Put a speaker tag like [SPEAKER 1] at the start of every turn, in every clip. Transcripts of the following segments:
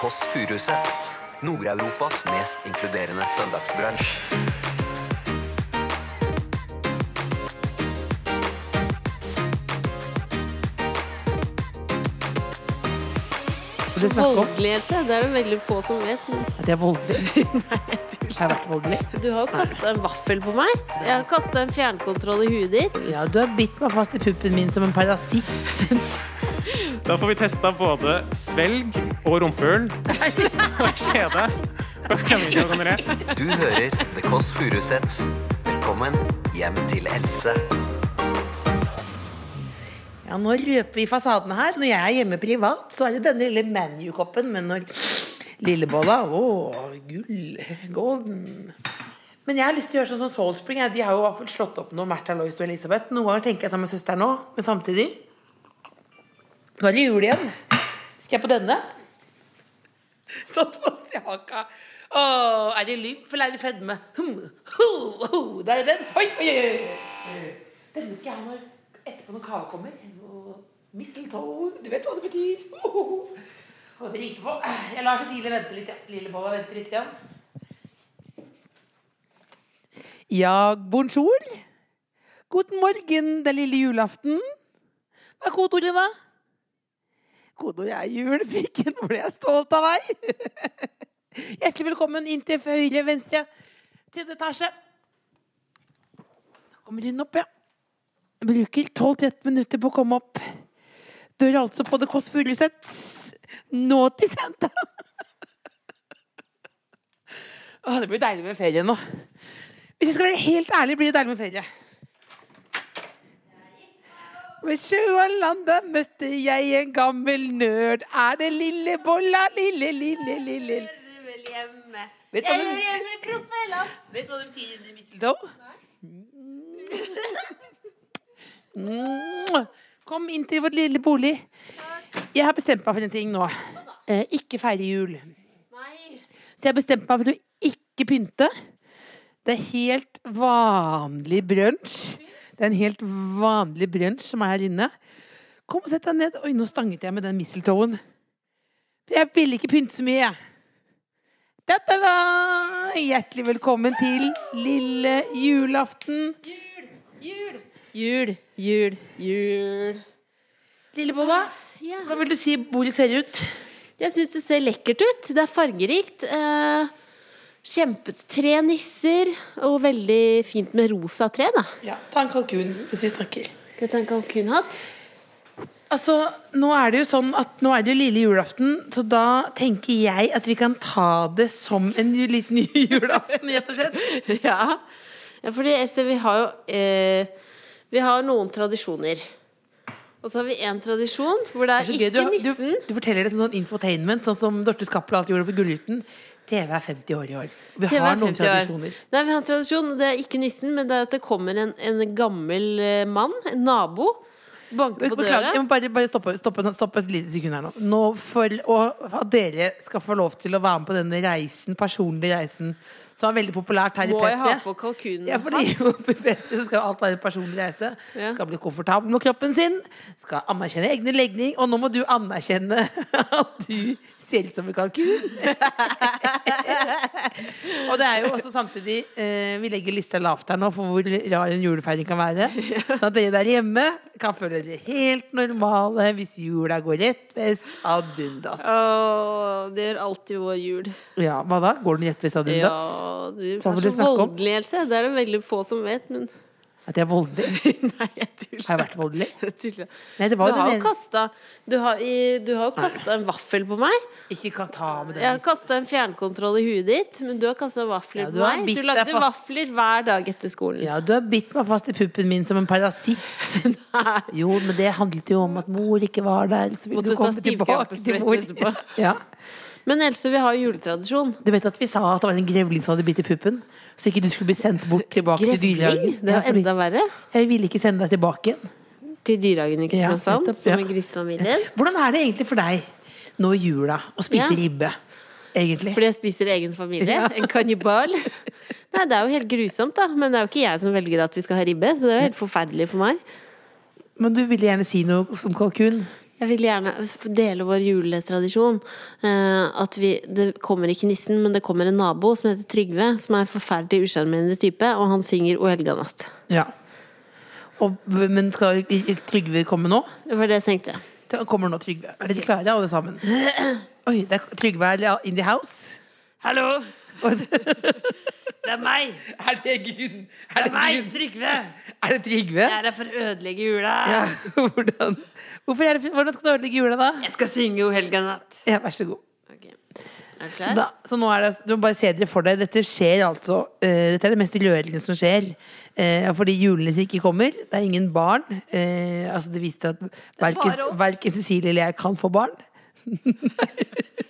[SPEAKER 1] Kåss Furuseths. Nord-Europas mest inkluderende søndagsbransj.
[SPEAKER 2] Vil du snakke om
[SPEAKER 3] Voldeligelse, det er det veldig få som vet. men-
[SPEAKER 2] at jeg er voldelig?
[SPEAKER 3] Nei, jeg
[SPEAKER 2] Har jeg
[SPEAKER 3] tuller.
[SPEAKER 2] vært voldelig?
[SPEAKER 3] Du har jo kasta en vaffel på meg. Jeg har kasta en fjernkontroll i huet ditt.
[SPEAKER 2] Ja, du har bitt meg fast i puppen min som en parasitt.
[SPEAKER 4] Da får vi testa både svelg og rumpehull. Og kjede. Og klemmekjønn generelt.
[SPEAKER 1] Du hører The Kåss Furuseths. Velkommen hjem til Else.
[SPEAKER 2] Ja, nå røper vi fasaden her. Når jeg er hjemme privat, så er det denne lille ManU-koppen. Men når lillebolla Å, gull. Golden. Men jeg har lyst til å gjøre sånn som Soul Spring. jeg. De har jo i hvert fall slått opp noe Märtha Lois og Elisabeth. Noen ganger tenker jeg sammen med søsteren nå, men samtidig Nå er det jul igjen. Skal jeg på denne? Satt fast i haka. Å, er det lymf eller er det fedme? Hm, ho, ho, der er den. Oi, oi, oi. oi. Denne skal jeg ha når, etterpå når kava kommer. Og mistletoe. Du vet hva det betyr. Hohoho. Og det ringer på. Jeg lar Cecilie vente litt. ja. Lillebolla venter litt. Igjen. Ja, bonjour. God morgen, det er lille julaften. Hva er kodeordet, da? Kodeordet er jul. Fikken, nå ble jeg stolt av meg. Hjertelig velkommen inn til høyre, venstre, tredje etasje. Da kommer hun opp, ja. Bruker 12-13 minutter på å komme opp. Dør altså på The Kåss Furuseths Naughty Santa. Åh, det blir deilig med ferie nå. Hvis jeg skal være helt ærlig, blir det deilig med ferie. Ved sjølandet møtte jeg en gammel nerd. Er det lille bolla, lille, lille, lille Vet du hva de- Vet du hva de sier under mistletoe? Mm. Kom inn til vår lille bolig. Jeg har bestemt meg for en ting nå. Eh, ikke feire jul. Så jeg har bestemt meg for å ikke pynte. Det er helt vanlig brunsj. Det er en helt vanlig brunsj som er her inne. Kom og sett deg ned. Oi, nå stanget jeg med den mistletoen. For jeg ville ikke pynte så mye, jeg. Ta-ta-da! Hjertelig velkommen til lille julaften.
[SPEAKER 3] Jul, jul, jul.
[SPEAKER 2] Lillebolla,
[SPEAKER 3] Ja.
[SPEAKER 2] hva vil du si bordet ser ut?
[SPEAKER 3] Jeg syns det ser lekkert ut. Det er fargerikt. Eh, kjempet tre nisser, og veldig fint med rosa tre, da.
[SPEAKER 2] Ja, ta en kalkun mens vi snakker.
[SPEAKER 3] Skal jeg ta en kalkunhatt?
[SPEAKER 2] Altså, nå er det jo sånn at nå er det jo lille julaften, så da tenker jeg at vi kan ta det som en ju- liten julaften, rett og slett.
[SPEAKER 3] ja. ja, fordi Else, vi har jo eh, Vi har noen tradisjoner. Og så har vi én tradisjon hvor det er,
[SPEAKER 2] Så gøy,
[SPEAKER 3] ikke
[SPEAKER 2] du, du,
[SPEAKER 3] nissen.
[SPEAKER 2] du forteller det som sånn infotainment, sånn som Dorte Skappel alltid gjorde på Gullruten. TV er 50 år i år. Vi
[SPEAKER 3] Det var
[SPEAKER 2] har noen
[SPEAKER 3] 50 år.
[SPEAKER 2] tradisjoner.
[SPEAKER 3] Nei, vi har en tradisjon. Det er ikke nissen, men det er at det kommer en, en gammel eh, mann, en nabo, banker på
[SPEAKER 2] Beklager,
[SPEAKER 3] døra.
[SPEAKER 2] jeg må bare, bare stoppe, stoppe, stoppe et lite sekund her nå. nå for å, at dere skal få lov til å være med på denne reisen, personlige reisen, som er veldig populært her i
[SPEAKER 3] Må jeg ha
[SPEAKER 2] P3.
[SPEAKER 3] på kalkunen?
[SPEAKER 2] Ja, fordi jo, bedre, så skal alt være en personlig reise.
[SPEAKER 3] Mm. Ja.
[SPEAKER 2] Skal bli komfortabel med kroppen sin. Skal anerkjenne egne legning. Og nå må du anerkjenne at du ser ut som en kalkun. og det er jo også samtidig eh, Vi legger lista lavt her nå for hvor rar en julefeiring kan være. Sånn at dere der hjemme kan føle dere helt normale hvis jula går rett vest ad undas.
[SPEAKER 3] Åh, det gjør alltid vår jul.
[SPEAKER 2] Ja, hva da? Går den rett vest ad
[SPEAKER 3] Ja,
[SPEAKER 2] undas?
[SPEAKER 3] du
[SPEAKER 2] Hva vil
[SPEAKER 3] er
[SPEAKER 2] du
[SPEAKER 3] så
[SPEAKER 2] snakke om?
[SPEAKER 3] voldelig, Else. Det er det veldig få som vet, men
[SPEAKER 2] At jeg er voldelig?
[SPEAKER 3] Nei, jeg tuller.
[SPEAKER 2] Har jeg vært voldelig?
[SPEAKER 3] Jeg tuller.
[SPEAKER 2] Nei, det
[SPEAKER 3] Du
[SPEAKER 2] var
[SPEAKER 3] har jo
[SPEAKER 2] det
[SPEAKER 3] kasta Du har i- du har jo kasta en vaffel på meg.
[SPEAKER 2] Ikke kan ta med den
[SPEAKER 3] Jeg har kasta en fjernkontroll i huet ditt, men du har kasta vafler
[SPEAKER 2] Ja, du
[SPEAKER 3] på
[SPEAKER 2] har
[SPEAKER 3] meg.
[SPEAKER 2] bitt
[SPEAKER 3] Du
[SPEAKER 2] deg
[SPEAKER 3] lagde
[SPEAKER 2] fast.
[SPEAKER 3] vafler hver dag etter skolen.
[SPEAKER 2] Ja, du har bitt meg fast i puppen min som en parasitt. Jo, men det handlet jo om at mor ikke var der. Så ville
[SPEAKER 3] Måtte
[SPEAKER 2] du
[SPEAKER 3] ta
[SPEAKER 2] komme tilbake til mor.
[SPEAKER 3] stivkrampestrett etterpå.
[SPEAKER 2] Ja.
[SPEAKER 3] Men Else, vi har jo juletradisjon.
[SPEAKER 2] Du vet at vi sa at det var en grevling som hadde bitt i puppen? Så ikke du skulle bli sendt bort tilbake til
[SPEAKER 3] Grevling?
[SPEAKER 2] dyrehagen.
[SPEAKER 3] Det
[SPEAKER 2] Ja,
[SPEAKER 3] er jo
[SPEAKER 2] fordi
[SPEAKER 3] enda verre.
[SPEAKER 2] Jeg ville ikke sende deg tilbake igjen.
[SPEAKER 3] Til dyrehagen i
[SPEAKER 2] Ja,
[SPEAKER 3] Kristiansand,
[SPEAKER 2] nettopp,
[SPEAKER 3] som
[SPEAKER 2] ja.
[SPEAKER 3] er grisefamilien.
[SPEAKER 2] Hvordan er det egentlig for deg nå i jula å spise
[SPEAKER 3] Ja.
[SPEAKER 2] ribbe? Egentlig.
[SPEAKER 3] Fordi jeg spiser egen familie.
[SPEAKER 2] Ja.
[SPEAKER 3] En kannibal. Nei, det er jo helt grusomt, da. Men det er jo ikke jeg som velger at vi skal ha ribbe, så det er jo helt forferdelig for meg.
[SPEAKER 2] Men du ville gjerne si noe som kalkun?
[SPEAKER 3] Jeg vil gjerne dele vår juletradisjon. Eh, at vi, Det kommer ikke nissen, men det kommer en nabo som heter Trygve. Som er en forferdelig usjarmerende type, og han synger 'O helga natt'.
[SPEAKER 2] Ja. Og, men skal Trygve komme nå?
[SPEAKER 3] Det var det jeg tenkte.
[SPEAKER 2] Da Kommer nå Trygve. Er dere klare, alle sammen? Oi, det er Trygve er in the house.
[SPEAKER 3] Hallo!
[SPEAKER 2] Og det-
[SPEAKER 3] Det er meg!
[SPEAKER 2] Er det grunn? Er det, grunn?
[SPEAKER 3] Trygve!
[SPEAKER 2] Er det Trygve?
[SPEAKER 3] er her for å ødelegge jula.
[SPEAKER 2] Ja. Hvordan, Hvorfor er det, hvordan skal du ødelegge jula, da?
[SPEAKER 3] Jeg skal synge 'O helga natt'.
[SPEAKER 2] Ja, vær så god.
[SPEAKER 3] Er du
[SPEAKER 2] Så,
[SPEAKER 3] klar?
[SPEAKER 2] da, så nå er det, du må bare se dere for deg Dette skjer altså eh, Dette er det mest rørende som skjer eh, Fordi julenissen ikke kommer Det er ingen barn eh, Altså det viste at
[SPEAKER 3] bare
[SPEAKER 2] verken,
[SPEAKER 3] oss.
[SPEAKER 2] verken Cecilie eller jeg kan få barn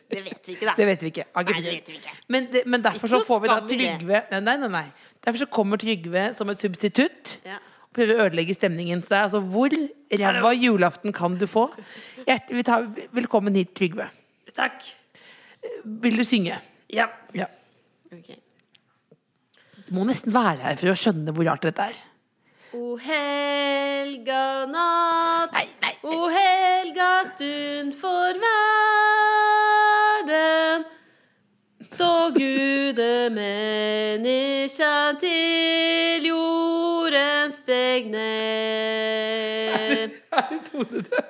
[SPEAKER 3] Det vet vi ikke, da.
[SPEAKER 2] Det vet vi ikke, Har ikke
[SPEAKER 3] Nei, det
[SPEAKER 2] begynt.
[SPEAKER 3] vet vi ikke.
[SPEAKER 2] Men, det, men derfor
[SPEAKER 3] Ikke
[SPEAKER 2] så
[SPEAKER 3] noe
[SPEAKER 2] får vi da
[SPEAKER 3] skam i det.
[SPEAKER 2] Trygve nei, nei, nei, nei. Derfor så kommer Trygve som et substitutt
[SPEAKER 3] Ja.
[SPEAKER 2] og Prøver å ødelegge stemningen Så det er altså hvor ræva julaften kan du få Hjert, vi tar, Velkommen hit Trygve
[SPEAKER 3] Takk.
[SPEAKER 2] Vil du synge?
[SPEAKER 3] Ja.
[SPEAKER 2] Ja Du må nesten være her for å skjønne hvor rart dette er
[SPEAKER 3] O helga natt,
[SPEAKER 2] Nei, nei, nei.
[SPEAKER 3] o helga stund for verden. Da Gude menneskjen til jorden steg ned.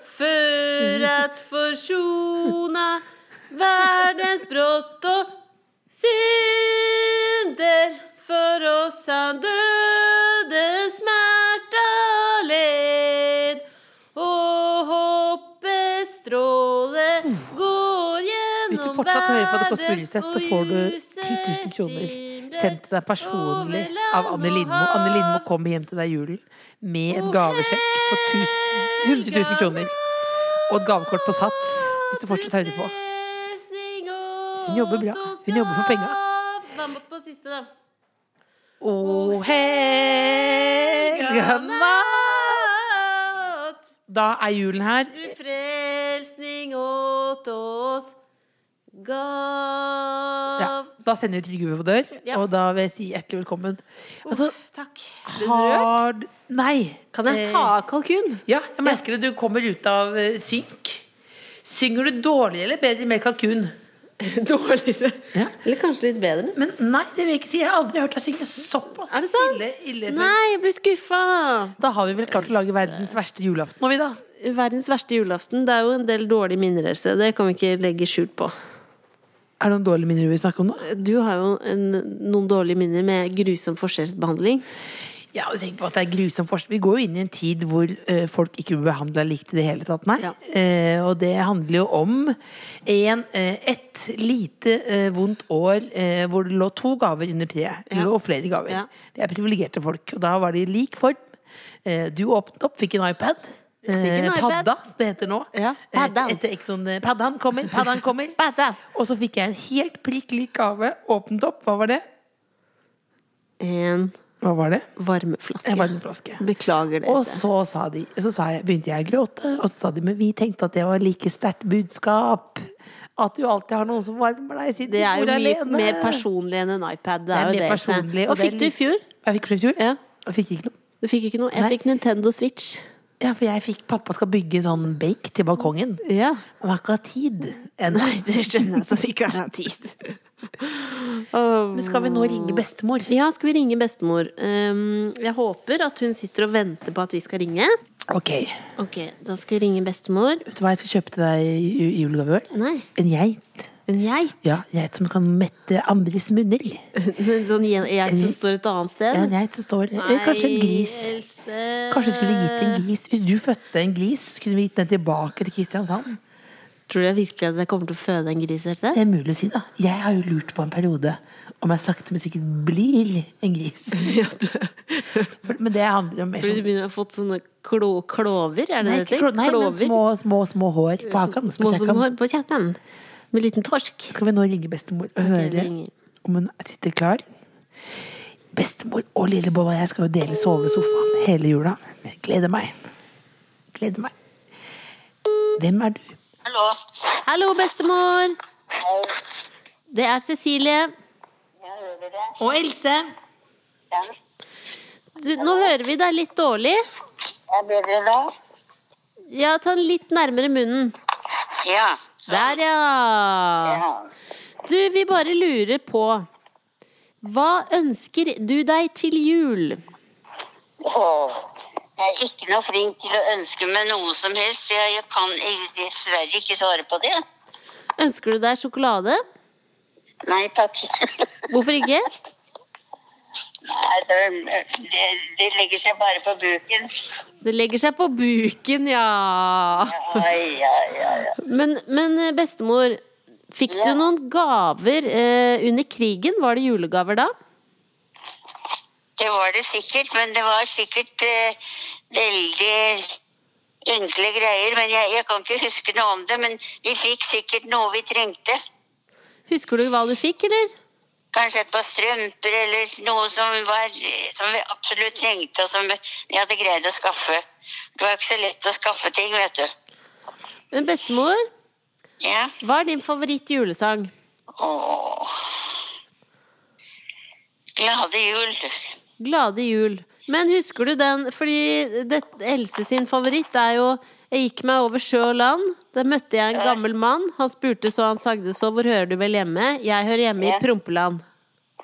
[SPEAKER 3] For at forsona verdens brott og synder. For oss han dødens smerte led. Og håpets stråle går gjennom
[SPEAKER 2] Hvis du fortsatt hører på The Kåss
[SPEAKER 3] verden,
[SPEAKER 2] Furuseth, så
[SPEAKER 3] og
[SPEAKER 2] får du
[SPEAKER 3] lyset
[SPEAKER 2] 10 000 kroner
[SPEAKER 3] skimrer
[SPEAKER 2] sendt til deg personlig
[SPEAKER 3] over land
[SPEAKER 2] av Anne
[SPEAKER 3] og
[SPEAKER 2] Lindmo. Anne Lindmo
[SPEAKER 3] hav.
[SPEAKER 2] kommer hjem til deg i julen med en gavesjekk på 1000 100 000 kroner. Og et gavekort på Sats, hvis du fortsatt hører på.
[SPEAKER 3] Hun
[SPEAKER 2] jobber bra. Hun jobber for penga.
[SPEAKER 3] Hva måtte på siste, da?
[SPEAKER 2] Å, helga natt.
[SPEAKER 3] natt,
[SPEAKER 2] Da er julen her.
[SPEAKER 3] du frelsning åt oss gav.
[SPEAKER 2] Ja, da sender vi Trygve på dør,
[SPEAKER 3] Ja.
[SPEAKER 2] og da vil jeg si hjertelig velkommen. Altså,
[SPEAKER 3] Takk.
[SPEAKER 2] har du Nei.
[SPEAKER 3] Kan jeg ta av kalkun?
[SPEAKER 2] Ja, jeg merker det. Du kommer ut av eh, synk. Synger du dårligere eller bedre med kalkun?
[SPEAKER 3] Dårligere.
[SPEAKER 2] Ja.
[SPEAKER 3] Eller kanskje litt bedre?
[SPEAKER 2] Men nei, det vil jeg ikke si. Jeg har aldri hørt deg synge såpass
[SPEAKER 3] Er det sant?
[SPEAKER 2] ille. ille.
[SPEAKER 3] Nei, jeg blir skuffa.
[SPEAKER 2] Da har vi vel klart å lage verdens verste julaften nå, vi, da.
[SPEAKER 3] Verdens verste julaften. Det er jo en del dårlige minner, Else. Det kan vi ikke legge skjul på.
[SPEAKER 2] Er det noen dårlige minner vi vil snakke om nå?
[SPEAKER 3] Du har jo en, noen dårlige minner med grusom forskjellsbehandling.
[SPEAKER 2] Ja, og tenk på at det er grusom forskning. Vi går jo inn i en tid hvor eh, folk ikke blir behandla likt i det hele tatt, nei.
[SPEAKER 3] Ja.
[SPEAKER 2] Eh, og det handler jo om en, eh, et lite eh, vondt år eh, hvor det lå to gaver under treet. Det
[SPEAKER 3] Ja.
[SPEAKER 2] lå flere gaver.
[SPEAKER 3] Ja.
[SPEAKER 2] Vi er privilegerte folk, og da var det i lik form. Eh, du åpnet opp, fikk en iPad.
[SPEAKER 3] fikk en
[SPEAKER 2] Eh,
[SPEAKER 3] iPad.
[SPEAKER 2] Padda, som det heter nå.
[SPEAKER 3] Ja,
[SPEAKER 2] Eh,
[SPEAKER 3] paddan.
[SPEAKER 2] Etter Exxon eh, Paddan kommer, paddan kommer.
[SPEAKER 3] Paddan.
[SPEAKER 2] Og så fikk jeg en helt prikk lik gave. Åpnet opp, hva var det?
[SPEAKER 3] En
[SPEAKER 2] Hva var det?
[SPEAKER 3] varmeflaske.
[SPEAKER 2] En varmeflaske.
[SPEAKER 3] Beklager det.
[SPEAKER 2] Og
[SPEAKER 3] Else.
[SPEAKER 2] så, sa de, så sa jeg, begynte jeg å gråte, og så sa de men vi tenkte at det var like sterkt budskap. At du alltid har noen som varmer deg. Siden
[SPEAKER 3] Det er jo
[SPEAKER 2] du bor
[SPEAKER 3] mye
[SPEAKER 2] alene.
[SPEAKER 3] mer personlig enn en iPad. Det
[SPEAKER 2] Det
[SPEAKER 3] er
[SPEAKER 2] er
[SPEAKER 3] jo
[SPEAKER 2] mer
[SPEAKER 3] det, Else.
[SPEAKER 2] personlig, og
[SPEAKER 3] Hva
[SPEAKER 2] det er
[SPEAKER 3] fikk du i
[SPEAKER 2] litt-
[SPEAKER 3] fjor?
[SPEAKER 2] Jeg fikk flutur.
[SPEAKER 3] Ja.
[SPEAKER 2] Jeg fikk ikke noe.
[SPEAKER 3] Du fikk ikke noe? Jeg
[SPEAKER 2] Nei.
[SPEAKER 3] fikk Nintendo Switch.
[SPEAKER 2] Ja, for jeg fikk pappa skal bygge sånn benk til balkongen.
[SPEAKER 3] Ja.
[SPEAKER 2] Han har ikke hatt tid ennå.
[SPEAKER 3] Nei, det skjønner jeg at han ikke har hatt tid.
[SPEAKER 2] Men skal vi nå ringe bestemor?
[SPEAKER 3] Ja, skal vi ringe bestemor? Ehm, jeg håper at hun sitter og venter på at vi skal ringe.
[SPEAKER 2] Ok.
[SPEAKER 3] Ok, Da skal vi ringe bestemor.
[SPEAKER 2] Vet du hva jeg skal kjøpe til deg i ju- i julegave i år?
[SPEAKER 3] Nei,
[SPEAKER 2] En geit.
[SPEAKER 3] en geit.
[SPEAKER 2] Ja, geit som kan mette andres munner. Ja,
[SPEAKER 3] En sånn gjen- geit som står et annet sted.
[SPEAKER 2] En geit som står Eller kanskje en gris.
[SPEAKER 3] Nei, Else.
[SPEAKER 2] Kanskje skulle gitt
[SPEAKER 3] Eh.
[SPEAKER 2] en gris Hvis du fødte en gris, så kunne vi gitt den tilbake til Kristiansand.
[SPEAKER 3] Tror du virkelig at jeg kommer til å føde en gris? Else?
[SPEAKER 2] Det er mulig å si, da. Jeg har jo lurt på en periode om jeg sakte, men sikkert blir en gris. For, men det handler om mer
[SPEAKER 3] Fordi du
[SPEAKER 2] sånn
[SPEAKER 3] begynner å ha fått sånne klo, klover? Er det
[SPEAKER 2] Nei,
[SPEAKER 3] det
[SPEAKER 2] ikke
[SPEAKER 3] heter?
[SPEAKER 2] klo- nei men små, små, små hår på hakan.
[SPEAKER 3] Små
[SPEAKER 2] På
[SPEAKER 3] som
[SPEAKER 2] kjekan.
[SPEAKER 3] hår på kjakan. Med liten torsk.
[SPEAKER 2] Skal vi nå ringe bestemor og
[SPEAKER 3] vi
[SPEAKER 2] høre
[SPEAKER 3] ringer.
[SPEAKER 2] om hun sitter klar? Bestemor og lillebolla og jeg skal jo dele sovesofaen hele jula. Jeg gleder meg. Gleder meg. Hvem er du?
[SPEAKER 5] Hallo.
[SPEAKER 3] Hallo, bestemor! Det er Cecilie.
[SPEAKER 5] Ja, hører dere?
[SPEAKER 3] Og Else.
[SPEAKER 5] Ja.
[SPEAKER 3] Du, nå hører vi deg litt dårlig.
[SPEAKER 5] Er bedre da?
[SPEAKER 3] Ja, ta den litt nærmere munnen.
[SPEAKER 5] Ja.
[SPEAKER 3] Der, ja.
[SPEAKER 5] ja.
[SPEAKER 3] Du, vi bare lurer på Hva ønsker du deg til jul?
[SPEAKER 5] Åh, jeg er ikke noe flink til å ønske meg noe som helst. Jeg, jeg kan egentlig dessverre ikke svare på det.
[SPEAKER 3] Ønsker du deg sjokolade?
[SPEAKER 5] Nei takk.
[SPEAKER 3] Hvorfor ikke?
[SPEAKER 5] Nei, det, det, det legger seg bare på buken.
[SPEAKER 3] Det legger seg på buken, ja.
[SPEAKER 5] Ai, ai, ai. ai.
[SPEAKER 3] Men, men eh, bestemor, fikk du noen gaver eh, under krigen? Var det julegaver da?
[SPEAKER 5] Det var det sikkert, men det var sikkert eh, veldig enkle greier. Men jeg, jeg kan ikke huske noe om det. Men vi fikk sikkert noe vi trengte.
[SPEAKER 3] Husker du hva du fikk, eller?
[SPEAKER 5] Kanskje et par strømper eller noe som, var, som vi absolutt trengte, og som vi hadde greid å skaffe. Det var ikke så lett å skaffe ting, vet du.
[SPEAKER 3] Men bestemor,
[SPEAKER 5] Ja.
[SPEAKER 3] hva er din favorittjulesang?
[SPEAKER 5] Åh. Glade jul.
[SPEAKER 3] Glade jul. Men husker du den? Fordi det, Else sin favoritt er jo Jeg gikk meg over sjø og land. Der møtte jeg en gammel mann. Han spurte så han sagde så. Hvor hører du vel hjemme? Jeg hører hjemme i
[SPEAKER 5] Ja.
[SPEAKER 3] Prompeland.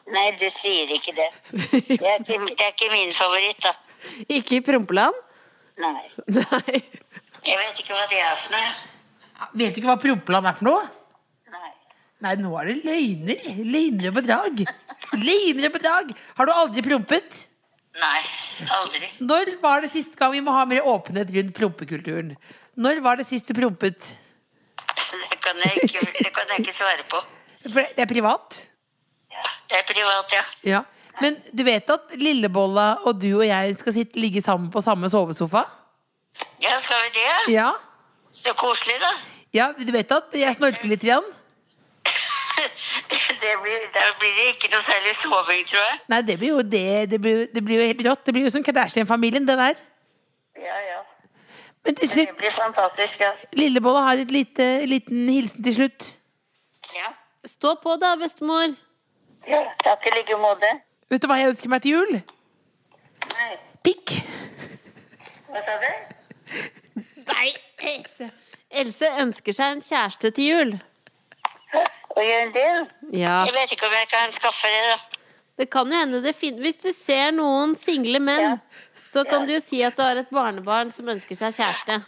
[SPEAKER 5] Nei, du sier ikke det. Det er ikke, det er ikke min favoritt, da.
[SPEAKER 3] Ikke i Prompeland?
[SPEAKER 5] Nei.
[SPEAKER 3] Nei.
[SPEAKER 5] Jeg vet ikke hva det er for noe.
[SPEAKER 2] Vet du ikke hva Prompeland er for noe?
[SPEAKER 5] Nei.
[SPEAKER 2] Nei, nå er det løgner. Løgner og bedrag. Løgner og bedrag. Har du aldri prompet?
[SPEAKER 5] Nei, aldri.
[SPEAKER 2] Når var det siste gang vi må ha mer åpenhet rundt prompekulturen? Når var det sist du prompet?
[SPEAKER 5] Det kan jeg ikke, det kan jeg ikke svare på.
[SPEAKER 2] For det er privat.
[SPEAKER 5] Det er privat, ja.
[SPEAKER 2] Ja. Men du vet at Lillebolla og du og jeg skal sitte, ligge sammen på samme sovesofa?
[SPEAKER 5] Ja, skal vi det?
[SPEAKER 2] Ja.
[SPEAKER 5] Så koselig, da.
[SPEAKER 2] ja du vet at jeg snorker litt? Igjen.
[SPEAKER 5] Det blir, da blir det ikke noe særlig soving, tror jeg.
[SPEAKER 2] Nei, det blir jo det. Det blir, det blir jo helt rått. Det blir jo som Kardashian-familien, det der.
[SPEAKER 5] Ja, ja.
[SPEAKER 2] Men til
[SPEAKER 5] Det
[SPEAKER 2] slutt,
[SPEAKER 5] blir fantastisk, ja.
[SPEAKER 2] Lillebolla har en lite, liten hilsen til slutt.
[SPEAKER 5] Ja,
[SPEAKER 3] Stå på da, bestemor.
[SPEAKER 5] ja takk i like måte.
[SPEAKER 2] Vet du hva jeg ønsker meg til jul?
[SPEAKER 5] Nei,
[SPEAKER 2] Pikk.
[SPEAKER 5] hva sa du?
[SPEAKER 3] Else ønsker seg en kjæreste til jul.
[SPEAKER 5] Å gjøre en del?
[SPEAKER 3] Ja.
[SPEAKER 5] Jeg vet ikke om jeg kan skaffe det, da.
[SPEAKER 3] Det kan jo hende det fin Hvis du ser noen single menn, så kan du jo si at du har et barnebarn som ønsker seg kjæreste.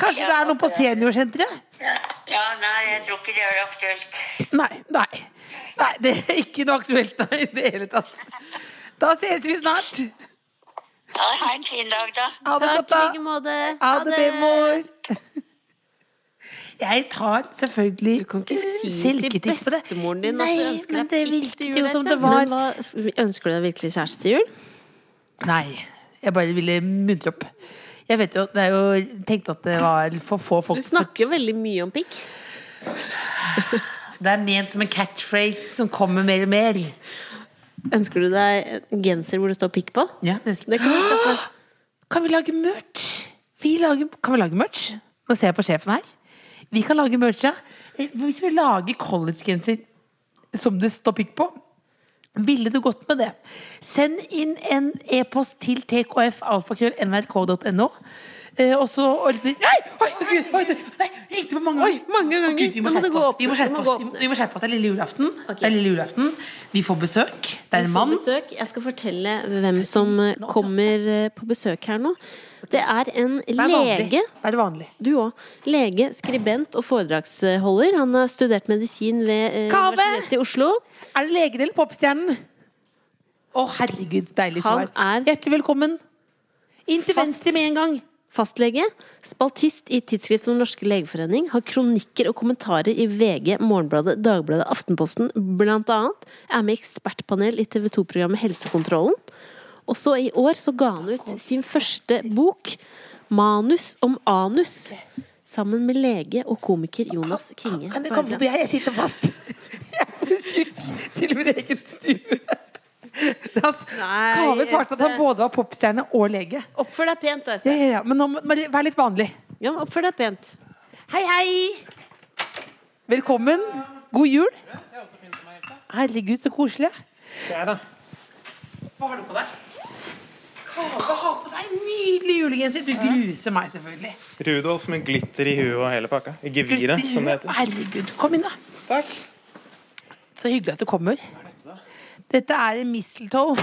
[SPEAKER 2] Kanskje det er noe på seniorsenteret?
[SPEAKER 5] Ja, ja nei, jeg tror ikke det er aktuelt.
[SPEAKER 2] Nei. Nei, nei det er ikke noe aktuelt nei, i det hele tatt. Da ses vi snart.
[SPEAKER 5] Ja, ha en fin dag, da.
[SPEAKER 2] Ha det
[SPEAKER 3] Takk i
[SPEAKER 2] godt, da.
[SPEAKER 3] like måte.
[SPEAKER 2] Ha det, bemor. Jeg tar selvfølgelig
[SPEAKER 3] Du kan ikke si til
[SPEAKER 2] selvkritikk på det.
[SPEAKER 3] bestemoren din
[SPEAKER 2] Nei,
[SPEAKER 3] at du ønsker
[SPEAKER 2] men
[SPEAKER 3] deg
[SPEAKER 2] det
[SPEAKER 3] pikk til jul.
[SPEAKER 2] virket jo som det
[SPEAKER 3] Else.
[SPEAKER 2] var.
[SPEAKER 3] Men hva, s- ønsker du deg virkelig kjæreste til jul?
[SPEAKER 2] Nei, jeg bare ville muntre opp. Jeg vet jo, det er jo tenkte at det var for få folk
[SPEAKER 3] Du snakker jo veldig mye om pikk.
[SPEAKER 2] Det er ment som en catchphrase som kommer mer og mer.
[SPEAKER 3] Ønsker du deg en genser hvor det står pikk på?
[SPEAKER 2] Ja, det skal-
[SPEAKER 3] Det kan vi snakke om.
[SPEAKER 2] Kan vi lage merch? Vi lager, kan vi lage merch? Nå ser jeg på sjefen her. Vi kan lage merch, ja. Eh, Hvis vi lager collegegenser som det står pikk på, ville du gått med det? Send inn en e-post til tkfalfakrøll.nrk.no. eh, Og så ordner Nei! Oi, å Gud, oi, nei, ringte på mange,
[SPEAKER 3] Oi, mange
[SPEAKER 2] Å,
[SPEAKER 3] ganger.
[SPEAKER 2] Gud, vi må
[SPEAKER 3] Nå må det
[SPEAKER 2] skjerpe
[SPEAKER 3] gå
[SPEAKER 2] oss.
[SPEAKER 3] opp.
[SPEAKER 2] Vi
[SPEAKER 3] Det
[SPEAKER 2] må
[SPEAKER 3] må
[SPEAKER 2] skjerpe
[SPEAKER 3] gå
[SPEAKER 2] oss. Vi
[SPEAKER 3] opp
[SPEAKER 2] må- Vi må skjerpe oss. Det er lille julaften. Det er lille julaften. Vi får besøk. Det er en
[SPEAKER 3] På
[SPEAKER 2] mann.
[SPEAKER 3] besøk. Jeg skal fortelle hvem som eh, kommer eh, på besøk her nå. Det er en
[SPEAKER 2] Det er vanlig.
[SPEAKER 3] lege.
[SPEAKER 2] Det er vanlig.
[SPEAKER 3] Du òg. Lege, skribent og foredragsholder. Han har studert medisin ved eh,
[SPEAKER 2] Kave!
[SPEAKER 3] Universitetet i Oslo.
[SPEAKER 2] Er det legen eller popstjernen? Å, herregud, så deilig
[SPEAKER 3] Han
[SPEAKER 2] svar.
[SPEAKER 3] er-
[SPEAKER 2] Hjertelig velkommen. Inn til
[SPEAKER 3] Fast-
[SPEAKER 2] venstre med en gang.
[SPEAKER 3] Fastlege, spaltist i Tidsskrift for Den norske legeforening, har kronikker og kommentarer i VG, Morgenbladet, Dagbladet, Aftenposten, blant annet. Er med i ekspertpanel i TV 2-programmet Helsekontrollen. Og så i år så ga han ut sin første bok, 'Manus om anus', sammen med lege og komiker Jonas Kinge.
[SPEAKER 2] Kan jeg
[SPEAKER 3] Bergland.
[SPEAKER 2] komme forbi her? Jeg sitter fast. Jeg er for tjukk til min egen stue. Altså,
[SPEAKER 3] Nei,
[SPEAKER 2] Kave svarte at han
[SPEAKER 3] Else.
[SPEAKER 2] både var popstjerne og lege.
[SPEAKER 3] Oppfør deg pent,
[SPEAKER 2] Ja,
[SPEAKER 3] Øystein.
[SPEAKER 2] ja, ja. Men nå må Marie, vær litt vanlig.
[SPEAKER 3] Ja, oppfør deg pent.
[SPEAKER 2] Hei, hei! Velkommen. God jul. Herregud, så koselig.
[SPEAKER 4] Det er det.
[SPEAKER 2] Hva har du på deg? Kage har på seg en nydelig julegenser. Du gruser meg selvfølgelig.
[SPEAKER 4] Rudolf med glitter i huet og hele pakka. I geviret, som det heter.
[SPEAKER 2] Herregud. Kom inn, da.
[SPEAKER 4] Takk.
[SPEAKER 2] Så hyggelig at du kommer. Dette er en mistletoe.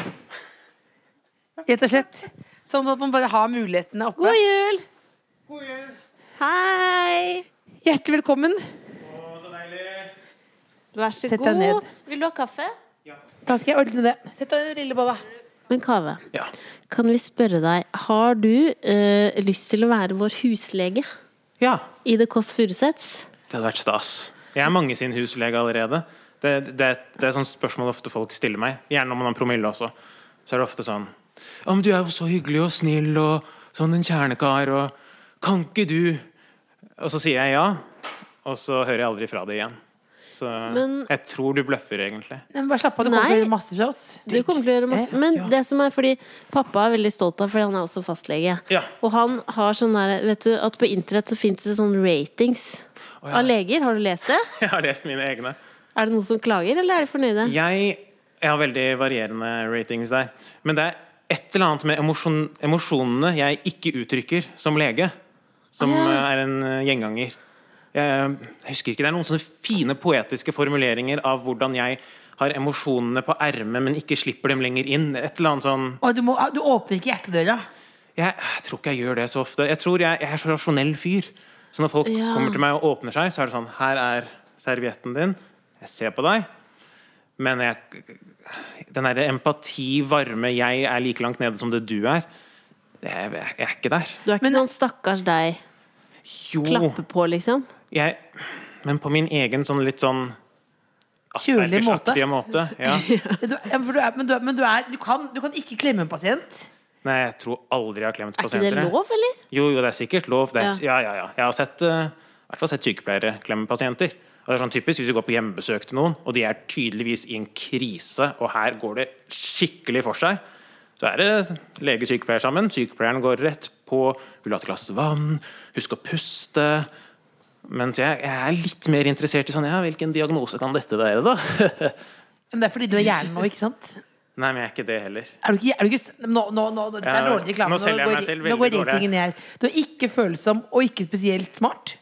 [SPEAKER 2] Rett og slett. Sånn at man bare har mulighetene oppe.
[SPEAKER 3] God jul! Hei!
[SPEAKER 2] Hjertelig velkommen.
[SPEAKER 3] Vær så
[SPEAKER 2] Sett deg
[SPEAKER 3] god.
[SPEAKER 2] ned.
[SPEAKER 3] Vil du ha kaffe?
[SPEAKER 2] Da skal jeg ordne det. Sett deg ned, lille bolla.
[SPEAKER 3] Men Kave,
[SPEAKER 4] Ja.
[SPEAKER 3] kan vi spørre deg Har du eh, lyst til å være vår huslege
[SPEAKER 4] ja.
[SPEAKER 3] i The Kåss Furuseths?
[SPEAKER 4] Det hadde vært stas. Jeg er mange sin huslege allerede. Det, det, det er sånn spørsmål ofte folk stiller meg. Gjerne om man har promille også. Så er det ofte sånn Ja, men du er jo så hyggelig og snill og sånn en kjernekar og Kan ikke du Og så sier jeg ja, og så hører jeg aldri fra det igjen. Så
[SPEAKER 3] Men-
[SPEAKER 4] jeg tror du bløffer, egentlig.
[SPEAKER 2] Nei, men Bare slapp av, du kommer
[SPEAKER 3] Nei.
[SPEAKER 2] til å gjøre masse fra oss. Eh?
[SPEAKER 3] Du kommer til å gjøre masse Men det som er fordi pappa er veldig stolt av Fordi han er også fastlege
[SPEAKER 4] Ja.
[SPEAKER 3] Og han har sånn der Vet du at på internett så finnes det sånne ratings
[SPEAKER 4] Å, ja.
[SPEAKER 3] Av leger, har du lest det?
[SPEAKER 4] Jeg har lest mine egne.
[SPEAKER 3] Er det noen som klager, eller er de fornøyde?
[SPEAKER 4] Jeg, jeg har veldig varierende ratings der. Men det er et eller annet med emosjon, emosjonene jeg ikke uttrykker som lege, som
[SPEAKER 3] Å, ja.
[SPEAKER 4] eh, er en eh, gjenganger. Jeg, jeg husker ikke, Det er noen sånne fine poetiske formuleringer av hvordan jeg har emosjonene på ermet, men ikke slipper dem lenger inn. Et eller annet sånn
[SPEAKER 2] Og du, må, du åpner ikke hjertedøra.
[SPEAKER 4] jeg, jeg tror ikke jeg gjør det så ofte. Jeg tror jeg, jeg er så rasjonell fyr. Så når folk
[SPEAKER 3] Ja.
[SPEAKER 4] kommer til meg og åpner seg, så er det sånn Her er servietten din. Jeg ser på deg. Men jeg, den derre empati, varme Jeg er like langt nede som det du er. Jeg, jeg, jeg er ikke der.
[SPEAKER 3] Du er ikke sånn stakkars deg
[SPEAKER 4] Jo,
[SPEAKER 3] Klappe på liksom
[SPEAKER 4] jeg Men på min egen sånn litt sånn
[SPEAKER 2] Kjølig måte.
[SPEAKER 4] Aspergers-aktige måte. Ja.
[SPEAKER 2] Du, ja, for du er, men du, er- men du, er, du, kan, du kan ikke klemme en pasient.
[SPEAKER 4] Nei, jeg tror aldri jeg har klemt
[SPEAKER 3] Er ikke det
[SPEAKER 4] pasienter. jeg.
[SPEAKER 3] lov, eller?
[SPEAKER 4] Jo, jo, det er sikkert lov. Det er, ja. Ja, ja, Jeg har sett, eh, i hvert fall sett sykepleiere klemme pasienter. Og det er sånn typisk Hvis du går på hjemmebesøk til noen, og de er tydeligvis i en krise, og her går det skikkelig for seg, så er det lege-sykepleier sammen. Sykepleieren går rett på 'vil du ha et glass vann', 'husk å puste'. Mens jeg, jeg er litt mer interessert i sånn ja, hvilken diagnose kan dette være, da?
[SPEAKER 2] Men det er fordi du er hjernen nå, ikke sant?
[SPEAKER 4] Nei, men jeg er ikke det heller.
[SPEAKER 2] Er du ikke, er du ikke s- nå, nå, nå, dette er
[SPEAKER 4] Ja,
[SPEAKER 2] dårlig reklame.
[SPEAKER 4] nå selger jeg
[SPEAKER 2] går-
[SPEAKER 4] meg selv
[SPEAKER 2] nå
[SPEAKER 4] veldig
[SPEAKER 2] går
[SPEAKER 4] dårlig.
[SPEAKER 2] ratingen ned. Du er ikke følsom og ikke spesielt smart.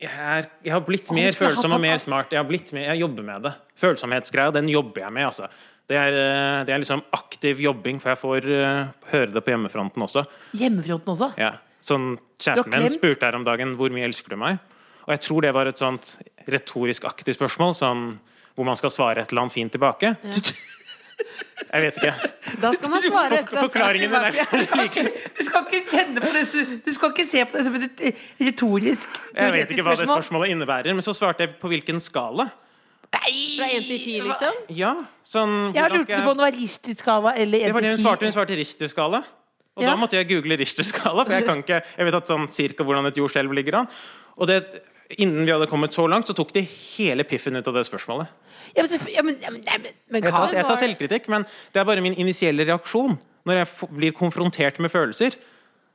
[SPEAKER 4] jeg, er, jeg har blitt
[SPEAKER 2] du
[SPEAKER 4] mer
[SPEAKER 2] skulle hatt
[SPEAKER 4] følsom og
[SPEAKER 2] en-
[SPEAKER 4] mer smart. Jeg, har blitt mer, jeg jobber med det. Følsomhetsgreia, den jobber jeg med, altså. Det er, eh, det er liksom aktiv jobbing, for jeg får eh, høre det på hjemmefronten også.
[SPEAKER 2] Hjemmefronten også.
[SPEAKER 4] Ja. Sånn,
[SPEAKER 2] Du har
[SPEAKER 4] kjæresten min
[SPEAKER 2] klemt?
[SPEAKER 4] spurte her om dagen hvor mye elsker du meg? Og jeg tror det var et sånt retorisk aktig spørsmål, sånn hvor man skal svare et eller annet fint tilbake. Jeg vet ikke.
[SPEAKER 3] Da skal man svare etter at
[SPEAKER 4] Forklaringen min er kanskje like
[SPEAKER 2] Du skal ikke kjenne på det som- Du skal ikke se på det som et retorisk
[SPEAKER 4] Jeg
[SPEAKER 2] teoretisk
[SPEAKER 4] vet ikke hva det spørsmålet innebærer, men så svarte jeg på hvilken skala.
[SPEAKER 3] Fra 1 til 10 liksom
[SPEAKER 4] Ja, sånn
[SPEAKER 2] Jeg
[SPEAKER 4] hvordan
[SPEAKER 2] lurte
[SPEAKER 4] skal
[SPEAKER 2] på om det var Richter-skala eller
[SPEAKER 4] Det var det hun
[SPEAKER 2] 1-10.
[SPEAKER 4] svarte. Hun svarte Richter-skala. Og
[SPEAKER 2] Ja.
[SPEAKER 4] da måtte jeg google Richter-skala, for jeg kan ikke Jeg vet at sånn cirka hvordan et jordskjelv ligger an. Og det Innen vi hadde kommet så langt, så tok de hele piffen ut av det spørsmålet.
[SPEAKER 2] Ja, men, selvfø- ja, men, ja, men, nei, men, men
[SPEAKER 4] Jeg tar,
[SPEAKER 2] Karl,
[SPEAKER 4] jeg tar selvkritikk, men det er bare min initielle reaksjon når jeg f blir konfrontert med følelser.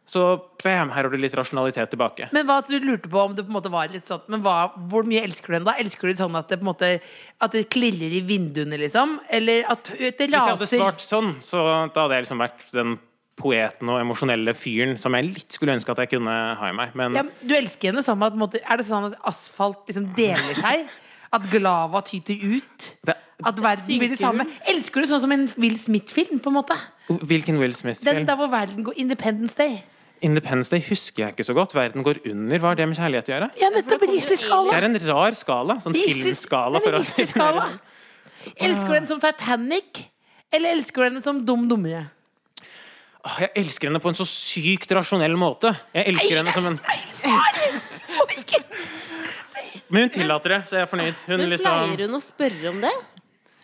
[SPEAKER 4] Så bam, her har du litt rasjonalitet tilbake.
[SPEAKER 2] Men hva du lurte på om det på en måte var litt sånn Men hva, hvor mye elsker du henne da? Elsker du sånn at det på en måte At det klirrer i vinduene, liksom? Eller at det
[SPEAKER 4] Hvis jeg hadde
[SPEAKER 2] raser?
[SPEAKER 4] svart sånn, så da hadde jeg liksom vært den poeten og emosjonelle fyren som jeg litt skulle ønske at jeg kunne ha i meg. Men
[SPEAKER 2] Ja, men du elsker henne sånn at på en måte, Er det sånn at asfalt liksom deler seg? At glava tyter ut?
[SPEAKER 4] det,
[SPEAKER 2] At verden blir det samme? Elsker du sånn som en Will Smith-film, på en måte?
[SPEAKER 4] hvilken Will Smith-film?
[SPEAKER 2] Den der hvor verden går Independence Day.
[SPEAKER 4] Independence Day husker jeg ikke så godt. Verden går under. Hva har det med kjærlighet å gjøre?
[SPEAKER 2] Ja, nettopp!
[SPEAKER 4] Det
[SPEAKER 2] Richter-skala.
[SPEAKER 4] er en rar skala. Sånn filmskala. For å
[SPEAKER 2] Richter-skala. Elsker du den som Titanic? Eller elsker du den som Dum Dummere?
[SPEAKER 4] Åh, Ah, Jeg elsker henne på en så sykt rasjonell måte. Jeg elsker henne som en Men hun tillater det, så jeg er fornøyd. Hun
[SPEAKER 3] Men
[SPEAKER 4] liksom
[SPEAKER 3] pleier hun å spørre om det?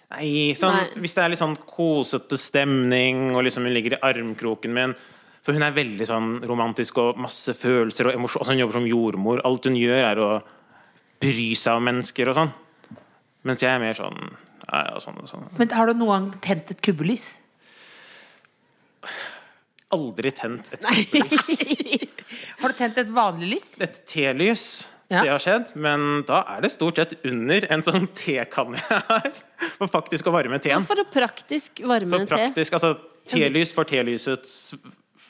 [SPEAKER 4] Nei, sånn,
[SPEAKER 3] Nei.
[SPEAKER 4] Hvis det er litt sånn kosete stemning, og liksom hun ligger i armkroken min For hun er veldig sånn romantisk og masse følelser og emosjon. Altså, hun jobber som jordmor. Alt hun gjør, er å bry seg om mennesker og sånn. Mens jeg er mer sånn ja, ja, sånn, sånn.
[SPEAKER 2] Men har du noen gang tent et kubbelys?
[SPEAKER 4] Aldri tent et
[SPEAKER 2] Har du tent et vanlig lys?
[SPEAKER 4] et telys.
[SPEAKER 2] Ja.
[SPEAKER 4] Det har skjedd, men da er det stort sett under en sånn tekanne jeg har. For faktisk å varme teen.
[SPEAKER 3] For å praktisk varme
[SPEAKER 4] For
[SPEAKER 3] en te.
[SPEAKER 4] praktisk, altså T-lys for T-lysets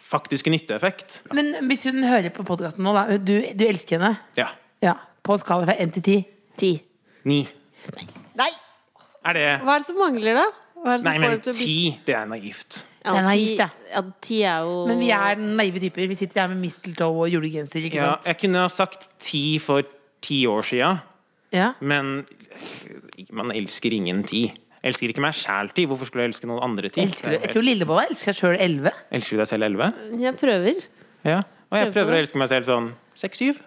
[SPEAKER 4] faktiske nytteeffekt.
[SPEAKER 2] Men hvis hun hører på podkasten nå, da. Du, du elsker henne.
[SPEAKER 4] Ja.
[SPEAKER 2] Ja. På en skala fra én til ti.
[SPEAKER 3] Ti.
[SPEAKER 4] Ni.
[SPEAKER 3] Nei!
[SPEAKER 4] Er det
[SPEAKER 3] Hva er det som mangler, da? Hva er det som
[SPEAKER 4] Nei, men
[SPEAKER 3] får det til å bli-
[SPEAKER 4] ti, det er naivt.
[SPEAKER 3] Ja,
[SPEAKER 2] Det er
[SPEAKER 3] ti-
[SPEAKER 2] naivt, det.
[SPEAKER 3] Ja, ti er jo
[SPEAKER 2] Men vi er naive typer. Vi sitter her med mistletoe og julegenser, ikke
[SPEAKER 4] Ja,
[SPEAKER 2] sant?
[SPEAKER 4] jeg kunne ha sagt ti for ti år sia,
[SPEAKER 2] Ja.
[SPEAKER 4] men man elsker ingen ti. Jeg elsker ikke meg sjæl ti. Hvorfor skulle jeg elske noen andre ti?
[SPEAKER 2] Elsker du, jeg tror Lillebolla elsker seg sjøl elleve.
[SPEAKER 4] Elsker du deg selv elleve?
[SPEAKER 3] Jeg prøver.
[SPEAKER 4] Ja. Og jeg
[SPEAKER 3] Prøv på
[SPEAKER 4] prøver å
[SPEAKER 3] det.
[SPEAKER 4] elske meg selv sånn seks-syv.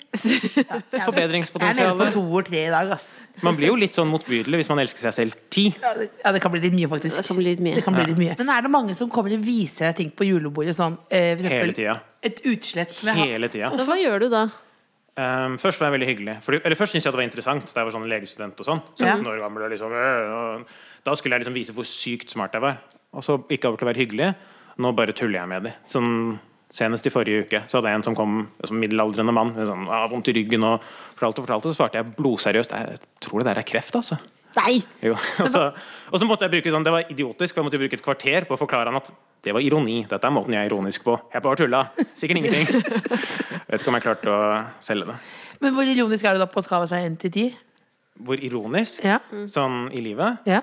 [SPEAKER 2] Jeg er nede på
[SPEAKER 4] Forbedringspotensialet.
[SPEAKER 2] to og tre i dag, ass.
[SPEAKER 4] Man blir jo litt sånn motbydelig hvis man elsker seg selv ti.
[SPEAKER 2] Ja, det, ja, det kan bli litt mye, faktisk.
[SPEAKER 3] Det kan bli litt mye.
[SPEAKER 2] Det kan bli litt mye. Men er det mange som kommer og viser deg ting på julebordet? Sånn, eh, for
[SPEAKER 4] Hele
[SPEAKER 2] eksempel,
[SPEAKER 4] tida.
[SPEAKER 2] Et utslett. som jeg har-
[SPEAKER 4] Hele tida.
[SPEAKER 3] Men hva gjør du da?
[SPEAKER 4] Um, først var jeg veldig hyggelig. Fordi, eller først syntes jeg det var interessant. Da jeg var sånn legestudent og sånn. 17
[SPEAKER 2] Ja.
[SPEAKER 4] år gammel og liksom, øh, og, Da skulle jeg liksom vise hvor sykt smart jeg var. Og så gikk jeg over til å være hyggelig. Nå bare tuller jeg med de. Sånn, senest i forrige uke så hadde jeg en som kom som middelaldrende mann med sånn, ah, vondt i ryggen og fortalte og fortalte. Så svarte jeg blodseriøst jeg tror det der er kreft, altså.
[SPEAKER 3] Nei!
[SPEAKER 4] Jo. Og, så, og så måtte jeg bruke sånn, Det var idiotisk, og jeg måtte bruke et kvarter på å forklare han at det var ironi. Dette er måten jeg er ironisk på. Jeg bare tulla. Sikkert ingenting. Jeg vet ikke om jeg klarte å selge det.
[SPEAKER 2] Men hvor ironisk er du da på skala fra én til ti?
[SPEAKER 4] hvor ironisk
[SPEAKER 2] Ja.
[SPEAKER 4] sånn i livet.
[SPEAKER 2] Ja.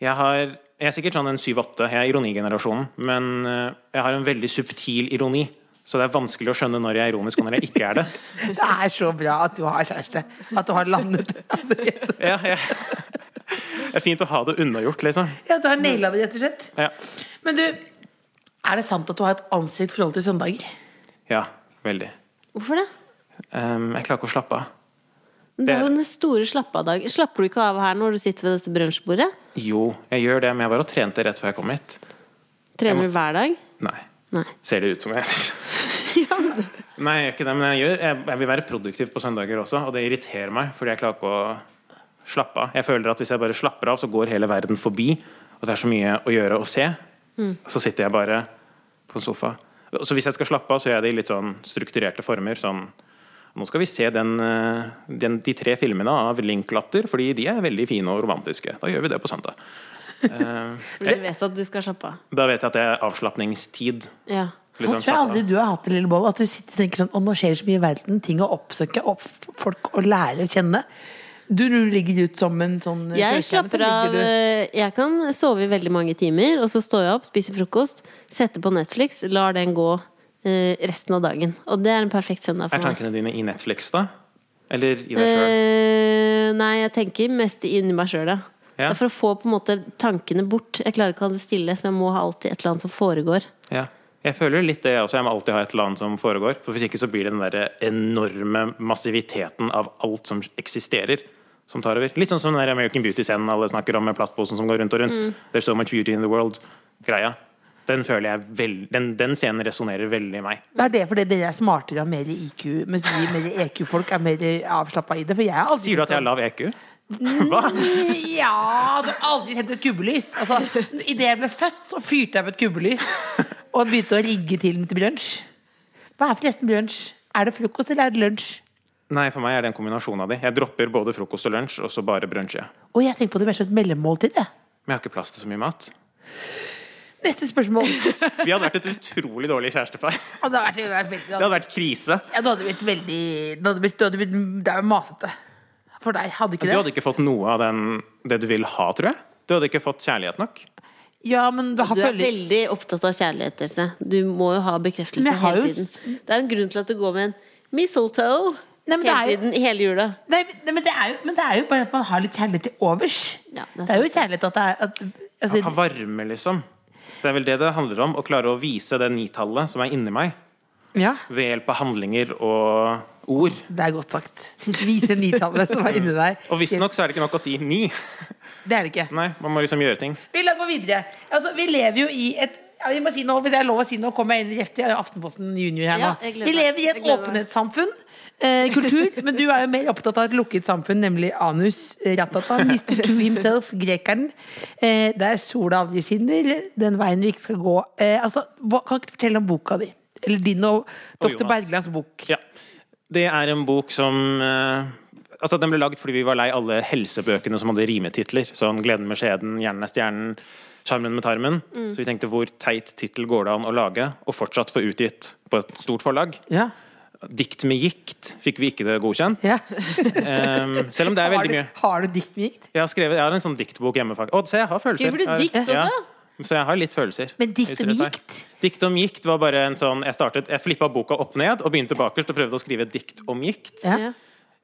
[SPEAKER 4] Jeg, har, jeg er sikkert sånn en 7-8, jeg er ironigenerasjonen, men eh, jeg har en veldig subtil ironi. Så det er vanskelig å skjønne når jeg er ironisk og når jeg ikke er det.
[SPEAKER 2] Det er så bra at du har kjæreste. At du har landet allerede.
[SPEAKER 4] Ja, jeg, det er fint å ha det unnagjort, liksom.
[SPEAKER 2] Ja, du har naila det, rett og slett.
[SPEAKER 4] Ja.
[SPEAKER 2] Men du, er det sant at du har et anstrengt forhold til søndager?
[SPEAKER 4] ja veldig.
[SPEAKER 3] Hvorfor det?
[SPEAKER 4] Ehm, jeg klarer ikke å slappe av.
[SPEAKER 3] Men Det er jo den store slappe av-dag. Slapper du ikke av her når du sitter ved dette brunsjbordet?
[SPEAKER 4] Jo, jeg gjør det, men jeg var og trente rett før jeg kom hit.
[SPEAKER 3] Trener du hver dag?
[SPEAKER 4] Nei.
[SPEAKER 3] Nei.
[SPEAKER 4] Ser det ut som jeg Nei, jeg gjør ikke det, men jeg, gjør, jeg, jeg vil være produktiv på søndager også, og det irriterer meg, fordi jeg klarer ikke å slappe av. Jeg føler at hvis jeg bare slapper av, så går hele verden forbi, og det er så mye å gjøre og se. Så sitter jeg bare på en sofa. Så hvis jeg skal slappe av, så gjør jeg det i litt sånn strukturerte former, sånn nå skal vi se den, eh, den, de tre filmene av Linklatter, fordi de er veldig fine og romantiske. Da gjør vi det på søndag.
[SPEAKER 3] For du vet at du skal slappe av.
[SPEAKER 4] Da vet jeg at det er avslapningstid.
[SPEAKER 3] Ja.
[SPEAKER 2] Så
[SPEAKER 4] Liksom
[SPEAKER 2] tror jeg
[SPEAKER 4] satt av.
[SPEAKER 2] aldri du har hatt det, lille Boll. At du sitter og tenker sånn Å, nå skjer det så mye i verden. Ting å oppsøke. Og f- folk å lære å kjenne. Du, du ligger ut som en sånn eh,
[SPEAKER 3] Jeg
[SPEAKER 2] sjøstjerne, så
[SPEAKER 3] slapper
[SPEAKER 2] ligger
[SPEAKER 3] av
[SPEAKER 2] du-
[SPEAKER 3] eh, Jeg kan sove i veldig mange timer, og så står jeg opp, spiser frokost, setter på Netflix, lar den gå eh, resten av dagen. Og det er en perfekt søndag
[SPEAKER 4] Er
[SPEAKER 3] for meg.
[SPEAKER 4] tankene dine i Netflix, da? Eller i deg sjøl?
[SPEAKER 3] Eh, nei, jeg tenker mest inni meg sjøl, ja. Det
[SPEAKER 4] Ja.
[SPEAKER 3] er for å få på en måte tankene bort. Jeg klarer ikke å ha det stille, så jeg må ha alltid et eller annet som foregår.
[SPEAKER 4] Ja. Jeg føler litt det jeg også. Jeg må alltid ha et eller annet som foregår. For hvis ikke så blir det den der enorme massiviteten av alt som eksisterer, som tar over. Litt sånn som den der American Beauty-scenen alle snakker om med plastposen som går rundt og rundt.
[SPEAKER 2] Mm.
[SPEAKER 4] There's so much beauty in the world-greia. Den føler jeg veld... den, den scenen resonnerer veldig i meg.
[SPEAKER 2] Det er det fordi dere er smartere og har mer IQ, mens vi mer EQ-folk er mer avslappa i det. For jeg har aldri
[SPEAKER 4] Sier du at jeg har lav E EQ? Hva?
[SPEAKER 2] Ja, du har aldri tent et kubbelys. Altså, Idet jeg ble født, så fyrte jeg opp et kubbelys og begynte å rigge til til brunsj. Hva er forresten brunsj? Er det frokost eller er det lunsj?
[SPEAKER 4] Nei, for meg er det en kombinasjon av de. Jeg dropper både frokost og lunsj, og så bare brunsjer jeg.
[SPEAKER 2] Og jeg tenker på det mer som et mellommåltid. jeg.
[SPEAKER 4] Men jeg har ikke plass til så mye mat.
[SPEAKER 2] Neste spørsmål.
[SPEAKER 4] Vi hadde vært et utrolig dårlig kjærestepar. Det
[SPEAKER 2] Og det hadde vært, det hadde vært veldig
[SPEAKER 4] hadde vært krise.
[SPEAKER 2] ja, Det hadde blitt veldig Det hadde blitt, det hadde blitt det er jo masete. For deg, hadde ikke
[SPEAKER 4] Du
[SPEAKER 2] det?
[SPEAKER 4] hadde ikke fått noe av den, det du vil ha, tror jeg. Du hadde ikke fått kjærlighet nok.
[SPEAKER 2] Ja, men du har
[SPEAKER 3] Du er
[SPEAKER 2] følger-
[SPEAKER 3] veldig opptatt av kjærlighet, Else. Du må jo ha bekreftelse
[SPEAKER 2] Men jeg har
[SPEAKER 3] hele
[SPEAKER 2] jo-
[SPEAKER 3] tiden. Det er jo en grunn til at du går med en mistletoe
[SPEAKER 2] Nei, men det
[SPEAKER 3] hele
[SPEAKER 2] er jo-
[SPEAKER 3] tiden, hele jula.
[SPEAKER 2] Nei, men- nei, men, det er jo, men det er jo bare at man har litt kjærlighet til overs.
[SPEAKER 3] Ja, det er
[SPEAKER 2] det, er jo kjærlighet at det er at, altså,
[SPEAKER 4] Ha varme, liksom. Det er vel det det handler om. Å klare å vise det nitallet som er inni meg,
[SPEAKER 2] Ja,
[SPEAKER 4] ved hjelp av handlinger og ord.
[SPEAKER 2] det er godt sagt. Vise nitallet som er inni deg.
[SPEAKER 4] Og visstnok så er det ikke nok å si ni.
[SPEAKER 2] Det er det ikke.
[SPEAKER 4] Nei, man må liksom gjøre ting.
[SPEAKER 2] Vi la gå videre. Altså, vi lever jo i et ja, vi må si noe, Hvis det er lov å si noe, kommer jeg inn rett i Aftenposten Junior her nå.
[SPEAKER 3] Ja, jeg gleder
[SPEAKER 2] vi
[SPEAKER 3] meg.
[SPEAKER 2] lever i et
[SPEAKER 3] Jeg gleder meg.
[SPEAKER 2] åpenhetssamfunn. Eh, kultur. Men du er jo mer opptatt av et lukket samfunn, nemlig anus. eh, Ratata. Mr. To himself, grekeren. Eh, der sola aldri skinner. Den veien vi ikke skal gå. Eh, altså, hva, kan ikke du fortelle om boka di? Eller din og
[SPEAKER 4] Og
[SPEAKER 2] dr.
[SPEAKER 4] Jonas.
[SPEAKER 2] Berglands bok.
[SPEAKER 4] Ja. Det er en bok som eh, altså, den ble lagd fordi vi var lei alle helsebøkene som hadde rimetitler. Sånn 'Gleden med skjeden', 'Hjernen er stjernen', 'Sjarmen med tarmen'.
[SPEAKER 2] Mm.
[SPEAKER 4] Så vi tenkte hvor teit tittel går det an å lage, og fortsatt få utgitt på et stort forlag?
[SPEAKER 2] Ja.
[SPEAKER 4] Dikt med gikt fikk vi ikke det godkjent.
[SPEAKER 2] ja.
[SPEAKER 4] Ehm, selv om det er
[SPEAKER 2] Har,
[SPEAKER 4] veldig
[SPEAKER 2] du,
[SPEAKER 4] mye.
[SPEAKER 2] har du dikt med gikt?
[SPEAKER 4] Jeg har, skrevet, jeg har en sånn diktbok hjemme. fak- Å, se, jeg har følelser.
[SPEAKER 3] Skriver du
[SPEAKER 4] Jeg har-
[SPEAKER 3] dikt også?
[SPEAKER 4] Så jeg har litt følelser.
[SPEAKER 2] Men dikt
[SPEAKER 4] hvis
[SPEAKER 2] om
[SPEAKER 4] dere tar.
[SPEAKER 2] gikt?
[SPEAKER 4] Dikt om gikt var bare en sånn Jeg startet, jeg flippa boka opp ned og begynte bakerst og prøvde å skrive et dikt om gikt.
[SPEAKER 2] Ja.
[SPEAKER 3] Ja.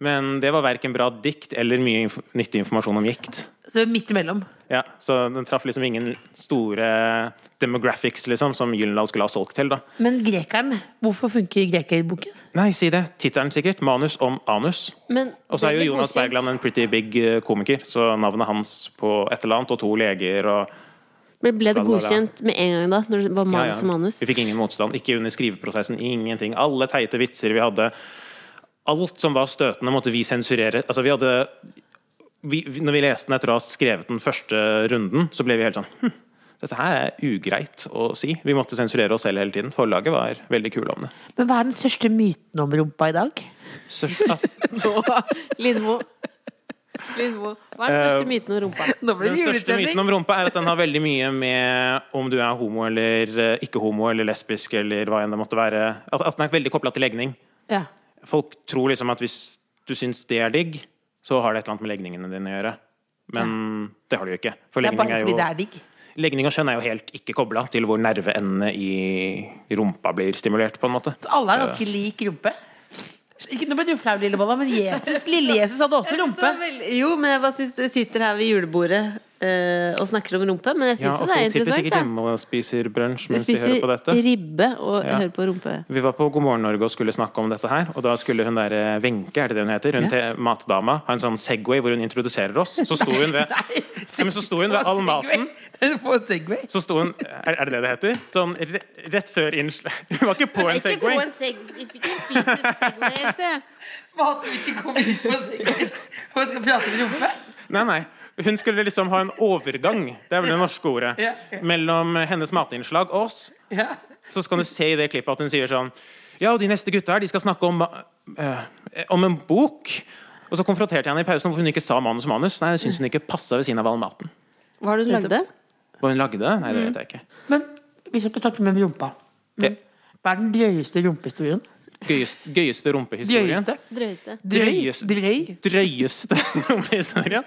[SPEAKER 4] Men det var verken bra dikt eller mye inf nyttig informasjon om gikt.
[SPEAKER 2] Så midt imellom.
[SPEAKER 4] Ja, så den traff liksom ingen store demographics, liksom, som Gyllendal skulle ha solgt til, da.
[SPEAKER 2] Men grekeren, hvorfor funker grekerboken?
[SPEAKER 4] Nei, si det. Tittelen, sikkert. Manus om anus.
[SPEAKER 3] Men
[SPEAKER 4] Og så er
[SPEAKER 3] det ble
[SPEAKER 4] jo Jonas
[SPEAKER 3] godkjent.
[SPEAKER 4] Bergland en pretty big eh, komiker, så navnet hans på et eller annet, og to leger og
[SPEAKER 3] Men ble det
[SPEAKER 4] Bla, bla, bla.
[SPEAKER 3] godkjent med en gang da? Når det var
[SPEAKER 4] Ja,
[SPEAKER 3] manus
[SPEAKER 4] ja.
[SPEAKER 3] og manus?
[SPEAKER 4] Vi fikk ingen motstand. Ikke under skriveprosessen. Ingenting. Alle teite vitser vi hadde. Alt som var støtende, måtte vi sensurere. Altså, vi hadde vi, vi- Når vi leste den etter å ha skrevet den første runden, så ble vi helt sånn hm, Dette her er ugreit å si. Vi måtte sensurere oss selv hele tiden. Forlaget var veldig kule om det.
[SPEAKER 2] Men hva er den største myten om rumpa i dag?
[SPEAKER 4] Størst, ja.
[SPEAKER 3] Lindmo. Lindmo. Hva er den
[SPEAKER 4] Eh,
[SPEAKER 3] største myten om rumpa?
[SPEAKER 2] Nå ble
[SPEAKER 4] Den
[SPEAKER 2] det
[SPEAKER 4] største myten
[SPEAKER 2] julestemning!
[SPEAKER 4] om rumpa er at den har veldig mye med om du er homo eller eh, ikke homo eller lesbisk eller hva enn det måtte være. At, at den er veldig kobla til legning.
[SPEAKER 2] Ja.
[SPEAKER 4] Folk tror liksom at hvis du syns det er digg, så har det et eller annet med legningene dine å gjøre. Men det har det jo ikke. For
[SPEAKER 2] Det er
[SPEAKER 4] legning,
[SPEAKER 2] bare
[SPEAKER 4] er
[SPEAKER 2] fordi
[SPEAKER 4] jo,
[SPEAKER 2] det er digg.
[SPEAKER 4] legning og kjønn er jo helt ikke kobla til hvor nerveendene i rumpa blir stimulert, på en måte.
[SPEAKER 2] Så alle har ganske lik rumpe. Ikke noe med du flau, lille bolla, men Jesus, lille Jesus hadde også rumpe.
[SPEAKER 3] Så vel- Jo, men jeg bare synes, jeg sitter her ved julebordet eh, og snakker om rumpe, men jeg
[SPEAKER 4] Ja,
[SPEAKER 3] syns
[SPEAKER 4] og
[SPEAKER 3] det er
[SPEAKER 4] folk sitter
[SPEAKER 3] interessant.
[SPEAKER 4] sikkert
[SPEAKER 3] Da.
[SPEAKER 4] hjemme og spiser brunsj
[SPEAKER 3] De
[SPEAKER 4] mens de hører på
[SPEAKER 3] spiser
[SPEAKER 4] dette.
[SPEAKER 3] ribbe og
[SPEAKER 4] Ja.
[SPEAKER 3] hører på rumpe.
[SPEAKER 4] Vi var på God morgen Norge og skulle snakke om dette her. Og da skulle hun der eh, Wenche, er det det hun heter? Hun til matdama. Ha en sånn Segway hvor hun introduserer oss. Så sto hun ved
[SPEAKER 2] Nei,
[SPEAKER 4] Ja, men så sto hun ved all maten.
[SPEAKER 2] Den på en Segway.
[SPEAKER 4] Så sto hun Er er det det det heter? Sånn re, rett før innslag Hun var ikke på en
[SPEAKER 3] Ikke på
[SPEAKER 4] Segway.
[SPEAKER 3] en Segway. Ikke en fysisk Segway, Else.
[SPEAKER 2] Maten vi ikke kommer inn på en Segway. Og skal prate om rumpe.
[SPEAKER 4] Nei, nei. Hun skulle liksom ha en overgang, det er vel det norske ordet,
[SPEAKER 2] Ja, ja.
[SPEAKER 4] mellom hennes matinnslag og oss.
[SPEAKER 2] Ja.
[SPEAKER 4] Så skal du se i det klippet at hun sier sånn Ja, og de neste gutta her, de skal snakke om eh, Om en bok. Og så konfronterte jeg henne i pausen hvorfor hun ikke sa manus manus. Nei, det syns hun ikke passa ved siden av all maten.
[SPEAKER 3] Hva har du lagd? det?
[SPEAKER 4] Hva hun lagde? Nei, det vet jeg ikke.
[SPEAKER 2] Men vi skal ikke snakke mer om rumpa.
[SPEAKER 4] Det
[SPEAKER 2] Hva er den drøyeste rumpehistorien?
[SPEAKER 4] gøyeste, gøyeste rumpehistorien.
[SPEAKER 2] Drøyeste?
[SPEAKER 3] Drøyeste.
[SPEAKER 2] Drøy?
[SPEAKER 4] Drøyeste.
[SPEAKER 2] Drøy?
[SPEAKER 4] Drøyeste rumpehistorien.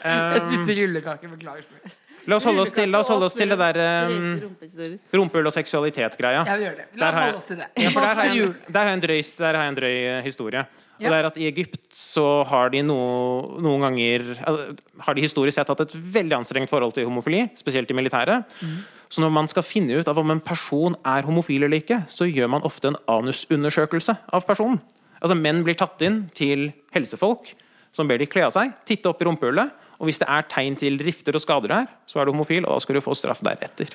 [SPEAKER 2] Jeg spiste rullekake, beklager. så mye.
[SPEAKER 4] La oss holde oss til, la oss holde oss til det derre
[SPEAKER 3] Drøyeste rumpehistorie.
[SPEAKER 4] rumpehull og seksualitet-greia.
[SPEAKER 2] Jeg vil gjøre det. La
[SPEAKER 4] Der har
[SPEAKER 2] oss
[SPEAKER 4] jeg-
[SPEAKER 2] holde oss til det.
[SPEAKER 4] Ja, for der har jeg en,
[SPEAKER 2] Jul.
[SPEAKER 4] der har jeg en, drøy, der har jeg en drøy eh, historie. Og
[SPEAKER 2] Ja.
[SPEAKER 4] det er at I Egypt så har de no, noen ganger eh, Har de historisk sett hatt et veldig anstrengt forhold til homofili, spesielt i militæret.
[SPEAKER 2] Mhm.
[SPEAKER 4] Så når man skal finne ut av om en person er homofil eller ikke, så gjør man ofte en anusundersøkelse av personen. Altså Menn blir tatt inn til helsefolk som ber de kle av seg, titte opp i rumpehullet, og hvis det er tegn til rifter og skader her, så er du homofil, og da skal du få straff deretter.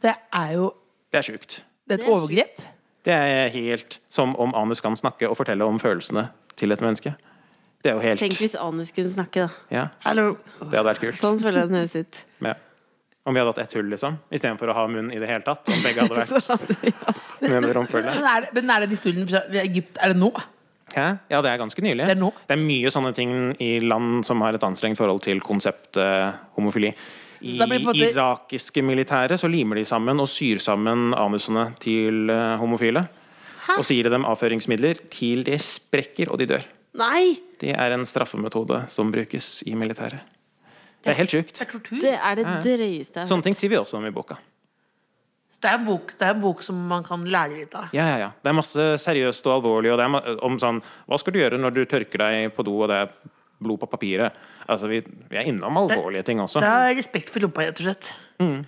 [SPEAKER 2] Det er jo
[SPEAKER 4] Det er sjukt.
[SPEAKER 2] det er et overgrep.
[SPEAKER 4] Det er helt som om anus kan snakke og fortelle om følelsene til et menneske. Det er jo helt
[SPEAKER 3] Tenk hvis anus kunne snakke, da.
[SPEAKER 4] ja,
[SPEAKER 2] Hallo.
[SPEAKER 4] Det hadde vært kult.
[SPEAKER 3] Sånn føler jeg den høres ut.
[SPEAKER 4] Ja. Om vi hadde hatt ett hull, liksom, istedenfor å ha munn i det hele tatt. Om begge hadde vært
[SPEAKER 3] Så hadde vi hatt-
[SPEAKER 4] med rumpehullet.
[SPEAKER 2] Men er det, men er det den historien fra Egypt? Er det nå?
[SPEAKER 4] Hæ? Ja, det er ganske nylig.
[SPEAKER 2] Det er nå.
[SPEAKER 4] det er mye sånne ting i land som har et anstrengt forhold til konseptet homofili.
[SPEAKER 2] Så
[SPEAKER 4] I
[SPEAKER 2] da blir det på en måte-
[SPEAKER 4] irakiske militære så limer de sammen og syr sammen anusene til eh, homofile. Og så gir de dem avføringsmidler til de sprekker og de dør.
[SPEAKER 3] Nei!
[SPEAKER 4] Det er en straffemetode som brukes i militæret. Det er helt sjukt.
[SPEAKER 2] Tortur?
[SPEAKER 3] Det er det drøyeste jeg har hørt.
[SPEAKER 4] Sånne ting skriver vi også om i boka.
[SPEAKER 2] Så Det er en bok, det er en bok som man kan lære litt av.
[SPEAKER 4] Ja, ja, ja. Det er masse seriøst og alvorlig og det er ma- om sånn Hva skal du gjøre når du tørker deg på do og det er blod på papiret? Altså, vi, vi er innom alvorlige ting også.
[SPEAKER 2] Det er respekt for rumpa, rett og slett.
[SPEAKER 4] Mm.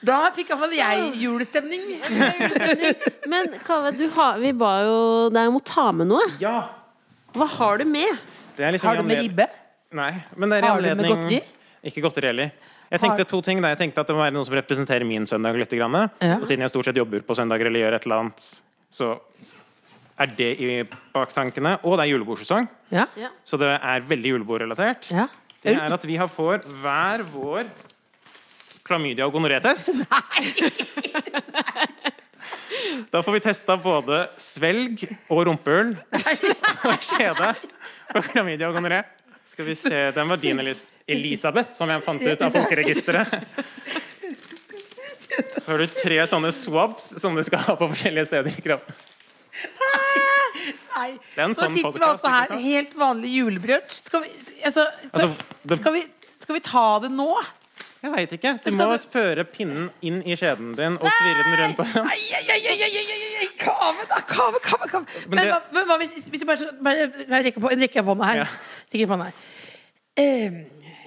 [SPEAKER 2] Da fikk iallfall jeg julestemning.
[SPEAKER 4] Sånn-
[SPEAKER 3] Men Kave, du har, vi ba jo deg om å ta med noe.
[SPEAKER 4] Ja!
[SPEAKER 3] Hva har du med?
[SPEAKER 4] Det er liksom
[SPEAKER 2] Har du med
[SPEAKER 4] i anled-
[SPEAKER 2] ribbe?
[SPEAKER 4] Nei. Men det er i
[SPEAKER 2] Har du med
[SPEAKER 4] anledning
[SPEAKER 2] godteri?
[SPEAKER 4] Ikke godteri heller. Jeg tenkte to ting da. Jeg tenkte at det må være noe som representerer min søndag litt. Grann.
[SPEAKER 2] Ja.
[SPEAKER 4] Og siden jeg stort sett jobber på søndager eller gjør et eller annet, så er det i baktankene. Og det er julebordsesong.
[SPEAKER 2] Ja.
[SPEAKER 3] Ja.
[SPEAKER 4] Så det er veldig julebordrelatert.
[SPEAKER 2] ja.
[SPEAKER 4] Det er at vi har får hver vår klamydia- og gonoré-test. Da får vi testa både svelg og rumpehull og skjede og klamydia og gonoré. Skal vi se, Den var din, Elis Elisabeth, som jeg fant ut av folkeregisteret. Så har du tre sånne swabs som du skal ha på forskjellige steder i kroppen.
[SPEAKER 2] Nei.
[SPEAKER 4] er en
[SPEAKER 2] Nå
[SPEAKER 4] sånn
[SPEAKER 2] sitter vi
[SPEAKER 4] podcast,
[SPEAKER 2] altså her,
[SPEAKER 4] ikke sant?
[SPEAKER 2] helt vanlig julebrunsj. Skal, vi- altså, skal,
[SPEAKER 4] Altså, det-
[SPEAKER 2] skal, vi- skal vi ta det nå?
[SPEAKER 4] Jeg veit ikke. Du
[SPEAKER 2] Men
[SPEAKER 4] må
[SPEAKER 2] skal du-
[SPEAKER 4] føre pinnen inn i skjeden din og sånn. svirre den rundt. på den.
[SPEAKER 2] Ai, ai, ai, ai, ai, ai, ai, ai, kave, da! Kave, kave, kave. Men,
[SPEAKER 4] det-
[SPEAKER 2] hva, men hva hvis, hvis jeg bare, skal- bare kan jeg rekke på, rekker jeg hånda her?
[SPEAKER 4] Ja.
[SPEAKER 2] Rekker jeg hånda her. Em,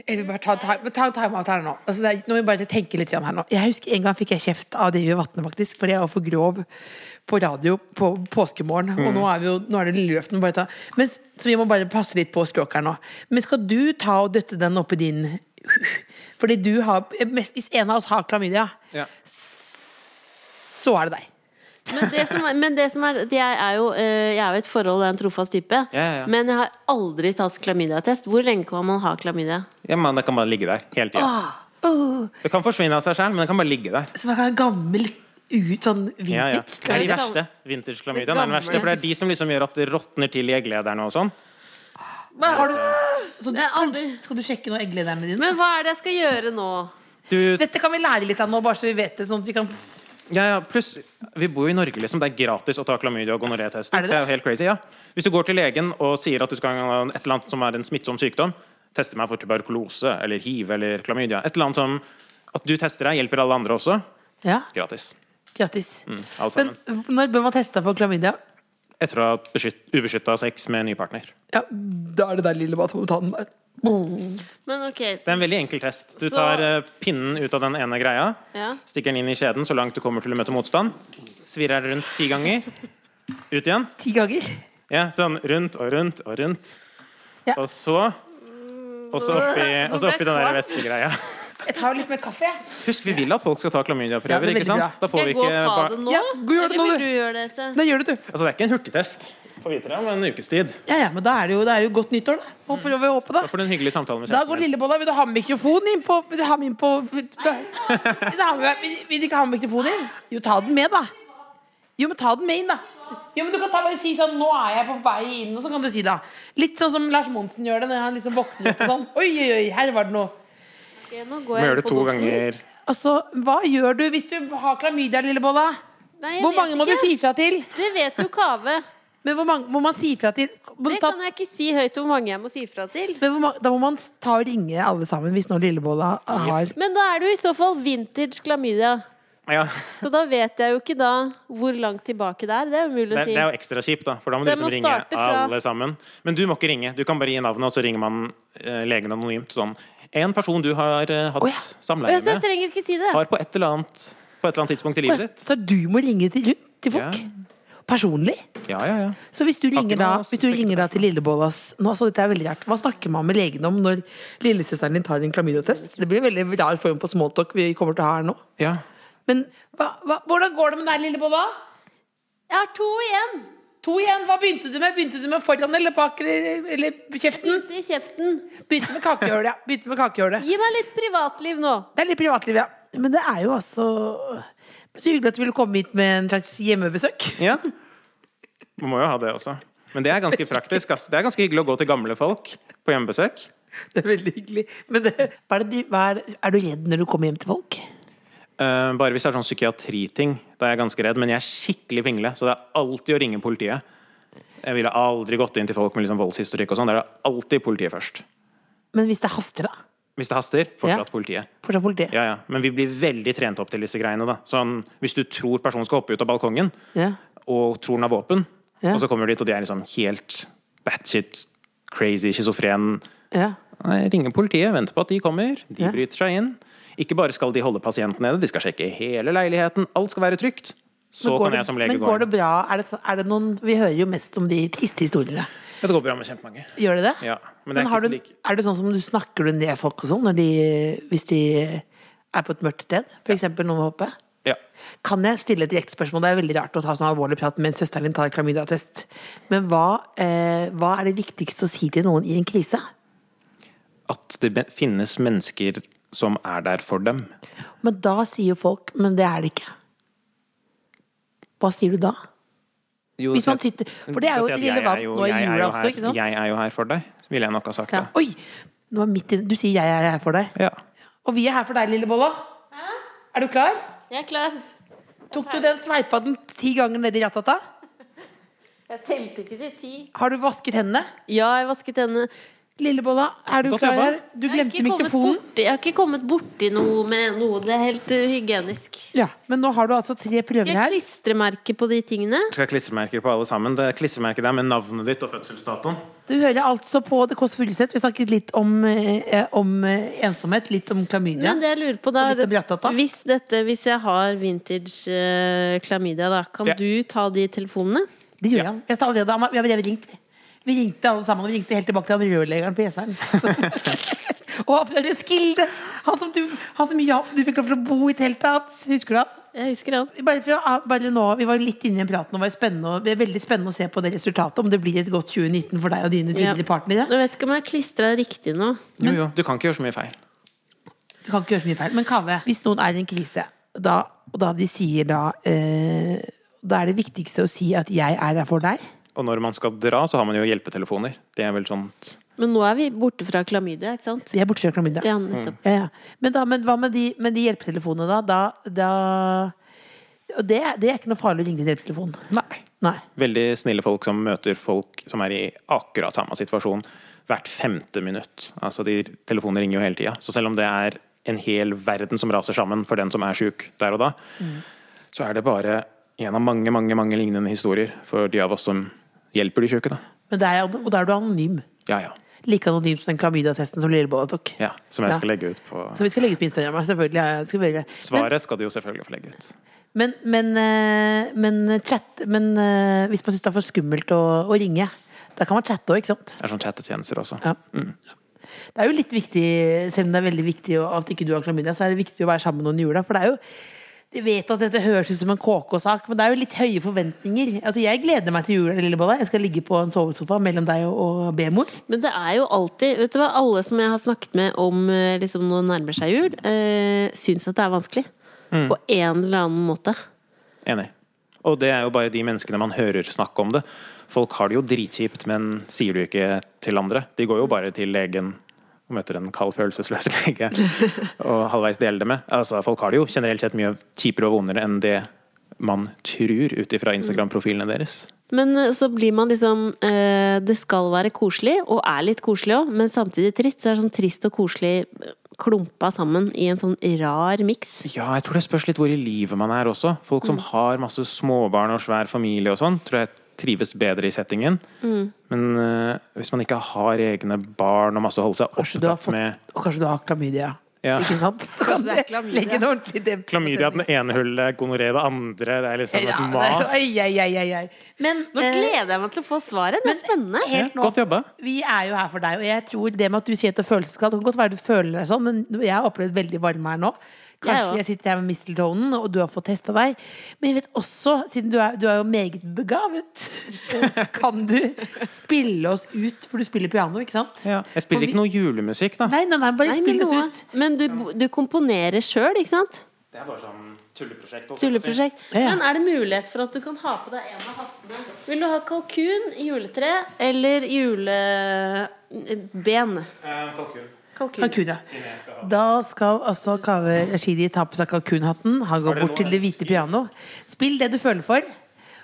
[SPEAKER 2] jeg vil bare ta en time- ta en timeout her nå. Altså, det er, nå må vi bare tenke litt grann her nå. Jeg husker En gang fikk jeg kjeft av Drive Vatne, faktisk, fordi jeg var for grov på radio på påskemorgen.
[SPEAKER 4] Mm.
[SPEAKER 2] Og nå er, vi jo, nå er det lille julaften. bare ta- Men, så vi må bare passe litt på språket her nå. Men skal du ta og døtte den oppi din Fordi du har mest, Hvis en av oss har klamydia,
[SPEAKER 4] Ja.
[SPEAKER 2] så er det deg.
[SPEAKER 3] Men det som er, men det som er at jeg, er jo, eh, jeg er jo i et forhold og er en trofast type.
[SPEAKER 4] ja, ja.
[SPEAKER 3] Men jeg har aldri tatt klamydiatest. Hvor lenge kan man ha klamydia?
[SPEAKER 4] Ja, men det kan bare ligge der hele tida.
[SPEAKER 2] Ah.
[SPEAKER 4] Det kan forsvinne av seg sjøl, men det kan bare ligge der.
[SPEAKER 2] Som er gammel, ut, sånn vintage.
[SPEAKER 4] Ja, ja. Det er de
[SPEAKER 3] Det samme-
[SPEAKER 4] verste. Vintersklamydiaen er den verste. For det er de som liksom gjør at det råtner til i egglederne og sånn.
[SPEAKER 2] Men har du, så du,
[SPEAKER 3] Jeg har aldri-
[SPEAKER 2] skal du sjekke noen egglederne dine?
[SPEAKER 3] Men hva er det jeg skal gjøre nå?
[SPEAKER 4] Du,
[SPEAKER 2] Dette kan vi lære litt av nå, bare så vi vet det. Sånn at vi kan
[SPEAKER 4] ja, ja, pluss Vi bor jo i Norge, liksom. Det er gratis å ta klamydia og gonoré-tester.
[SPEAKER 2] Er det det?
[SPEAKER 4] Det er jo helt crazy, ja. Hvis du går til legen og sier at du skal ha et eller annet som er en smittsom sykdom, teste meg for tuberkulose eller hiv eller klamydia, et eller annet som at du tester deg, hjelper alle andre også.
[SPEAKER 2] Ja,
[SPEAKER 4] Gratis.
[SPEAKER 2] gratis.
[SPEAKER 4] Mm. Alt
[SPEAKER 2] Men
[SPEAKER 4] sammen.
[SPEAKER 2] når bør man teste for klamydia?
[SPEAKER 4] Etter å ha hatt beskytt- ubeskytta sex med en ny partner.
[SPEAKER 2] Ja, da er det der lille badet må ta den der.
[SPEAKER 3] Men ok,
[SPEAKER 4] Det
[SPEAKER 3] så,
[SPEAKER 4] er en veldig enkel test. Du
[SPEAKER 3] Så-
[SPEAKER 4] tar eh, pinnen ut av den ene greia,
[SPEAKER 3] Ja.
[SPEAKER 4] stikker den inn i skjeden så langt du kommer til å møte motstand, svirrer den rundt ti ganger, ut igjen.
[SPEAKER 2] Ti ganger.
[SPEAKER 4] Ja, sånn rundt og rundt og rundt.
[SPEAKER 2] Ja.
[SPEAKER 4] Og så Og så oppi, og så oppi den der væskegreia.
[SPEAKER 2] Jeg tar litt mer kaffe, jeg.
[SPEAKER 4] Husk, vi vil at folk skal ta
[SPEAKER 2] Ja, det
[SPEAKER 4] klamydiaprøver,
[SPEAKER 2] er
[SPEAKER 4] ikke sant?
[SPEAKER 2] veldig bra.
[SPEAKER 4] Da får
[SPEAKER 3] skal
[SPEAKER 4] vi
[SPEAKER 3] jeg gå og
[SPEAKER 4] ikke
[SPEAKER 3] ta
[SPEAKER 4] bar-
[SPEAKER 3] det nå?
[SPEAKER 2] Ja, gjør det nå,
[SPEAKER 3] Eller
[SPEAKER 2] du.
[SPEAKER 3] vil du gjøre det, Else?
[SPEAKER 2] Det gjør det, du.
[SPEAKER 4] Altså, det er ikke en hurtigtest. Får vite det om en ukes tid.
[SPEAKER 2] Ja, ja, men da er det jo, da er det jo godt nyttår, da. Håper vi håper
[SPEAKER 4] Mm. Da
[SPEAKER 2] det.
[SPEAKER 4] får du en hyggelig samtale med
[SPEAKER 2] Da går
[SPEAKER 4] kjæresten din.
[SPEAKER 2] Lillebolla. Vil du ha med mikrofon inn på Vil du ha med inn på Vil du, vil du, ha med, vil, vil du ikke ha med mikrofon inn? Jo, ta den med, da. Jo, men ta den med inn, da. Jo, men du kan ta bare si sånn 'Nå er jeg på vei inn', og så kan du si da. Litt sånn som Lars Monsen gjør det når han liksom våkner opp og sånn. Oi, oi, oi, her var det noe.
[SPEAKER 3] Ok, nå går
[SPEAKER 4] Må
[SPEAKER 3] jeg
[SPEAKER 4] gjøre det
[SPEAKER 3] på
[SPEAKER 4] to
[SPEAKER 3] dosen.
[SPEAKER 4] ganger.
[SPEAKER 2] Altså, hva gjør du hvis du har klamydia, Lillebolla?
[SPEAKER 3] Nei, jeg
[SPEAKER 2] Hvor
[SPEAKER 3] vet
[SPEAKER 2] mange må du
[SPEAKER 3] ikke.
[SPEAKER 2] si fra til?
[SPEAKER 3] Det vet jo Kave.
[SPEAKER 2] Men hvor mange må man si fra til? Må du
[SPEAKER 3] Det
[SPEAKER 2] ta,
[SPEAKER 3] kan jeg ikke si høyt hvor mange jeg må si fra til.
[SPEAKER 2] men hvor mange, da må man ta og ringe alle sammen hvis nå Lillebolla har
[SPEAKER 3] Men da er det jo i så fall vintage klamydia.
[SPEAKER 4] Ja,
[SPEAKER 3] Så da vet jeg jo ikke da hvor langt tilbake det er. Det er umulig
[SPEAKER 4] det,
[SPEAKER 3] å si.
[SPEAKER 4] det er jo ekstra kjipt, da. For da må
[SPEAKER 3] Så
[SPEAKER 4] du
[SPEAKER 3] jeg må
[SPEAKER 4] liksom ringe
[SPEAKER 3] starte fra-
[SPEAKER 4] alle sammen. Men du må ikke ringe. Du kan bare gi navnet, og så ringer man eh, legen anonymt. Sånn. En person du har eh, hatt
[SPEAKER 2] Å, ja.
[SPEAKER 3] Å,
[SPEAKER 4] samleie
[SPEAKER 3] ja, så jeg
[SPEAKER 4] med,
[SPEAKER 3] trenger ikke si det.
[SPEAKER 4] har på et eller annet på et eller annet tidspunkt i livet ditt.
[SPEAKER 2] Så du må ringe til, rundt til folk? Personlig?
[SPEAKER 4] Ja, ja, ja.
[SPEAKER 2] Så hvis du ringer,
[SPEAKER 4] ikke
[SPEAKER 2] da,
[SPEAKER 4] noe å
[SPEAKER 2] hvis du
[SPEAKER 4] tenke
[SPEAKER 2] ringer da til Lillebollas nå, så dette er veldig rart. Hva snakker man med legen om når lillesøsteren din tar en klamydiatest? Det blir en veldig rar form for smalltalk vi kommer til å ha her nå.
[SPEAKER 4] ja.
[SPEAKER 2] Men hva, hva, hvordan går det med deg, Lillebolla?
[SPEAKER 3] Jeg har to igjen.
[SPEAKER 2] To igjen. Hva begynte du med? Begynte du med foran eller bak eller, eller kjeften?
[SPEAKER 3] Ute i kjeften.
[SPEAKER 2] Begynte med kakehølet, ja. Begynte med kakehølet.
[SPEAKER 3] Gi meg litt privatliv nå.
[SPEAKER 2] Det er litt privatliv, ja. Men det er jo altså Så hyggelig at du ville komme hit med en slags hjemmebesøk.
[SPEAKER 4] ja. Man må jo ha det også. Men det er ganske praktisk. Ass. Det er ganske hyggelig å gå til gamle folk på hjemmebesøk.
[SPEAKER 2] Det er veldig hyggelig. Men det, hva er, det, du- hva er, det, er du redd når du kommer hjem til folk?
[SPEAKER 4] Eh, bare hvis det er sånn psykiatriting. Da er jeg ganske redd. Men jeg er skikkelig pingle, så det er alltid å ringe politiet. Jeg ville aldri gått inn til folk med liksom voldshistorikk og sånn. Der er det alltid politiet først.
[SPEAKER 2] Men hvis det haster, da?
[SPEAKER 4] Hvis det haster, fortsatt
[SPEAKER 2] Ja.
[SPEAKER 4] politiet.
[SPEAKER 2] Fortsatt politiet?
[SPEAKER 4] Ja, ja. Men vi blir veldig trent opp til disse greiene. da. Sånn, Hvis du tror personen skal hoppe ut av balkongen,
[SPEAKER 2] Ja.
[SPEAKER 4] og tror den har våpen,
[SPEAKER 2] Ja.
[SPEAKER 4] og så kommer du dit, og de er liksom helt batshit, crazy, schizofren
[SPEAKER 2] Ja.
[SPEAKER 4] Nei, Ringer politiet, venter på at de kommer. De
[SPEAKER 2] Ja.
[SPEAKER 4] bryter seg inn. Ikke bare skal de holde pasienten nede, de skal sjekke hele leiligheten. Alt skal være trygt. Så
[SPEAKER 2] Men går
[SPEAKER 4] kan
[SPEAKER 2] det-
[SPEAKER 4] jeg som lege
[SPEAKER 2] Men
[SPEAKER 4] gå
[SPEAKER 2] går det
[SPEAKER 4] inn.
[SPEAKER 2] bra? Er det, så, er det noen, vi hører jo mest om de triste historiene.
[SPEAKER 4] Det går bra med kjempemange.
[SPEAKER 2] Gjør det det?
[SPEAKER 4] Ja, men det er
[SPEAKER 2] har
[SPEAKER 4] ikke
[SPEAKER 2] du,
[SPEAKER 4] slik-
[SPEAKER 2] er det sånn som du snakker du ned folk og sånn når de, hvis de er på et mørkt sted? For eksempel noen hoppe?
[SPEAKER 4] Ja.
[SPEAKER 2] Kan jeg stille et direkte spørsmål? Det er veldig rart å ta sånn alvorlig prat mens søsteren din tar klamydiatest. Men hva, eh, hva er det viktigste å si til noen i en krise?
[SPEAKER 4] At det be- finnes mennesker som er der for dem.
[SPEAKER 2] Men da sier jo folk Men det er det ikke. Hva sier du da?
[SPEAKER 4] Jo,
[SPEAKER 2] Hvis
[SPEAKER 4] så
[SPEAKER 2] man
[SPEAKER 4] jeg-
[SPEAKER 2] sitter For det er jo
[SPEAKER 4] jeg sier at jeg
[SPEAKER 2] relevant
[SPEAKER 4] er jo-
[SPEAKER 2] nå i
[SPEAKER 4] jeg er jo
[SPEAKER 2] jula også,
[SPEAKER 4] her-
[SPEAKER 2] ikke sant?
[SPEAKER 4] Jeg er jo her for deg, ville jeg nok ha sagt.
[SPEAKER 2] Ja.
[SPEAKER 4] da.
[SPEAKER 2] Oi! Nå var midt inne. Du sier 'jeg er her for deg'.
[SPEAKER 4] Ja.
[SPEAKER 2] Og vi er her for deg, lille bolla. Er du klar?
[SPEAKER 3] Jeg er klar.
[SPEAKER 2] Tok du den sveipa den ti ganger ned i ratata?
[SPEAKER 3] Jeg telte ikke til ti.
[SPEAKER 2] Har du vasket hendene?
[SPEAKER 3] Ja, jeg vasket henne.
[SPEAKER 2] Lillebolla, er du
[SPEAKER 4] Godt
[SPEAKER 2] klar?
[SPEAKER 4] jobba.
[SPEAKER 2] her? Du glemte mikrofonen.
[SPEAKER 3] jeg har ikke kommet borti noe med noe. Det er helt uh, hygienisk.
[SPEAKER 2] Ja, Men nå har du altså tre prøver
[SPEAKER 3] Skal
[SPEAKER 2] her.
[SPEAKER 3] jeg klistremerke på de tingene?
[SPEAKER 4] Skal jeg klistremerker på alle sammen? Det klistremerket der med navnet ditt og fødselsdatoen.
[SPEAKER 2] Du hører altså på Det Kåss Furuseth. Vi snakket litt om, eh, om eh, ensomhet, litt om klamydia.
[SPEAKER 3] Men det jeg lurer på da
[SPEAKER 2] Og litt om Bratata.
[SPEAKER 3] hvis, dette, hvis jeg har vintage eh, klamydia, da, kan
[SPEAKER 4] Ja.
[SPEAKER 3] du ta de telefonene?
[SPEAKER 2] Det gjorde han. Jeg sa allerede, han var- vi har vi har ringt. Vi ringte alle sammen, og vi ringte helt tilbake til han rørleggeren på Jessheim. og han prøvde Skilde! Han som du, han som ja, du fikk lov til å bo i teltet hans. Husker du han?
[SPEAKER 3] Jeg husker han.
[SPEAKER 2] Bare for å, bare nå, vi var litt inne i en prat nå. og Det var spennende, og det er veldig spennende å se på det resultatet. Om det blir et godt 2019 for deg og dine
[SPEAKER 3] Ja.
[SPEAKER 2] tidligere partnere.
[SPEAKER 3] Jeg vet ikke om jeg klistra riktig nå.
[SPEAKER 4] Jo, jo, du kan ikke gjøre så mye feil.
[SPEAKER 2] Du kan ikke gjøre så mye feil. Men Kave, hvis noen er i en krise, da, og da de sier da eh, Da er det viktigste å si at 'jeg er her for deg'.
[SPEAKER 4] Og når man skal dra, så har man jo hjelpetelefoner. Det er vel sånn
[SPEAKER 3] Men nå er vi borte fra klamydia, ikke sant?
[SPEAKER 2] De er bortskjørt fra middag.
[SPEAKER 3] Ja, nettopp.
[SPEAKER 2] Ja, ja. Men, da, men hva med de, med de hjelpetelefonene, da? da, da og det, det er ikke noe farlig å ringe til hjelpetelefonen.
[SPEAKER 4] Nei.
[SPEAKER 2] Nei.
[SPEAKER 4] Veldig snille folk som møter folk som er i akkurat samme situasjon hvert femte minutt. Altså, de Telefonene ringer jo hele tida. Så selv om det er en hel verden som raser sammen for den som er sjuk der og da, så er det bare en av mange, mange mange lignende historier for de av oss som hjelper de sjuke, da.
[SPEAKER 2] Men det er, og da er du anonym.
[SPEAKER 4] Ja, ja.
[SPEAKER 2] Like anonym som den klamydia-testen som Lillebolla tok.
[SPEAKER 4] ja som jeg skal
[SPEAKER 2] Ja.
[SPEAKER 4] legge ut på
[SPEAKER 2] Som vi skal legge ut på Instagram. ja, Selvfølgelig. ja, ja, Skal vi gjøre.
[SPEAKER 4] Svaret skal du jo selvfølgelig få legge ut.
[SPEAKER 2] Men, men, eh, men chat Men eh, hvis man syns det er for skummelt å, å ringe, da kan man chatte òg, ikke sant?
[SPEAKER 4] Det er sånn chattetjenester også.
[SPEAKER 2] Ja. Det er jo litt viktig, selv om det er veldig viktig å- at ikke du har klamydia, så er det viktig å være sammen med noen i jula. For det er jo de vet at dette høres ut som en KK-sak, men det er jo litt høye forventninger. Altså, Jeg gleder meg til jula, Lillebolla. Jeg skal ligge på en sovesofa mellom deg og, og B-mor.
[SPEAKER 3] Men det er jo alltid Vet du hva, alle som jeg har snakket med om eh, liksom nå nærmer seg jul, eh, syns at det er vanskelig. På en eller annen måte.
[SPEAKER 4] Enig. Og det er jo bare de menneskene man hører snakke om det. Folk har det jo dritkjipt, men sier du ikke til andre. De går jo bare til legen og møter en kald, følelsesløs lege og halvveis deler det med. Altså, folk har det jo generelt sett mye kjipere og vondere enn det man tror ut ifra Instagram-profilene deres.
[SPEAKER 3] Men eh, så blir man liksom eh, Det skal være koselig, og er litt koselig òg, men samtidig trist. Så er det sånn trist og koselig eh, klumpa sammen i en sånn rar miks.
[SPEAKER 4] Ja, jeg tror det spørs litt hvor i livet man er også. Folk som har masse småbarn og svær familie og sånn, tror jeg trives bedre i settingen. Men eh, hvis man ikke har egne barn og masse å holde seg
[SPEAKER 2] Kanskje du har
[SPEAKER 4] opptatt
[SPEAKER 2] fått,
[SPEAKER 4] med
[SPEAKER 2] og kanskje du har klamydia.
[SPEAKER 4] Ja.
[SPEAKER 2] Ikke sant? Så kan
[SPEAKER 3] det er
[SPEAKER 2] det
[SPEAKER 3] klamydia.
[SPEAKER 2] legge en ordentlig demp.
[SPEAKER 4] Klamydia i den ene hullet, gonoré i det andre. Det er liksom
[SPEAKER 2] Ja,
[SPEAKER 4] et
[SPEAKER 2] det er-
[SPEAKER 4] mas.
[SPEAKER 2] Ai, ai, ai, ai, ai. Men
[SPEAKER 3] Nå
[SPEAKER 2] eh,
[SPEAKER 3] gleder jeg meg til å få svaret. Det er spennende.
[SPEAKER 4] Ja,
[SPEAKER 2] helt nå.
[SPEAKER 4] Godt jobba.
[SPEAKER 2] Vi er jo her for deg, og jeg tror det med at du sier at det føles kaldt, det kan godt være du føler deg sånn, men jeg har opplevd veldig varme her nå.
[SPEAKER 3] Jeg
[SPEAKER 2] Kanskje
[SPEAKER 3] også.
[SPEAKER 2] jeg sitter her med mistletonen, og du har fått testa deg. Men jeg vet også, siden du er, du er jo meget begavet, kan du spille oss ut, for du spiller piano, ikke sant?
[SPEAKER 4] Ja. Jeg spiller ikke noe julemusikk, da.
[SPEAKER 2] Nei, nei, nei, bare
[SPEAKER 3] Nei, men,
[SPEAKER 2] spill oss
[SPEAKER 3] noe.
[SPEAKER 2] ut.
[SPEAKER 3] men du, du komponerer sjøl, ikke sant?
[SPEAKER 4] Det er bare sånn tulleprosjekt. holdt jeg på å si.
[SPEAKER 3] Tulleprosjekt.
[SPEAKER 2] Ja.
[SPEAKER 3] Men er det mulighet for at du kan ha på deg en av hattene? Vil du ha kalkun, juletre eller juleben?
[SPEAKER 4] Eh, kalkun.
[SPEAKER 3] Kalkun.
[SPEAKER 2] Kalkun, ja. Da skal altså Kaveh Rashidi ta på seg kalkunhatten. Han går
[SPEAKER 4] det
[SPEAKER 2] bort
[SPEAKER 4] noe
[SPEAKER 2] til det hvite piano. Spill det du føler for.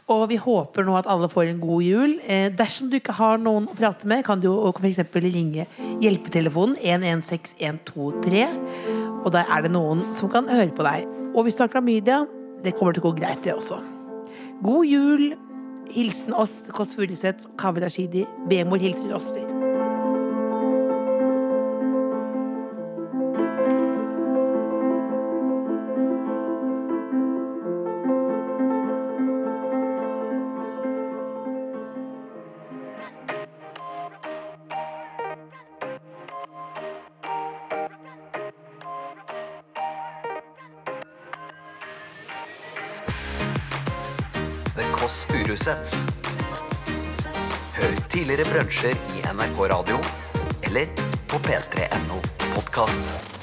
[SPEAKER 2] Og vi håper nå at alle får en god jul. Eh, dersom du ikke har noen å prate med, kan du jo f.eks. ringe hjelpetelefonen 116123. Og der er det noen som kan høre på deg. Og hvis du har klamydia, det kommer til å gå greit, det også. God jul. Hilsen oss, Kåss Furuseth, Kaveh Rashidi. Bemor hilser oss.
[SPEAKER 1] The Kåss Furuseths. Hør tidligere brunsjer i NRK Radio eller på p3.no podkast.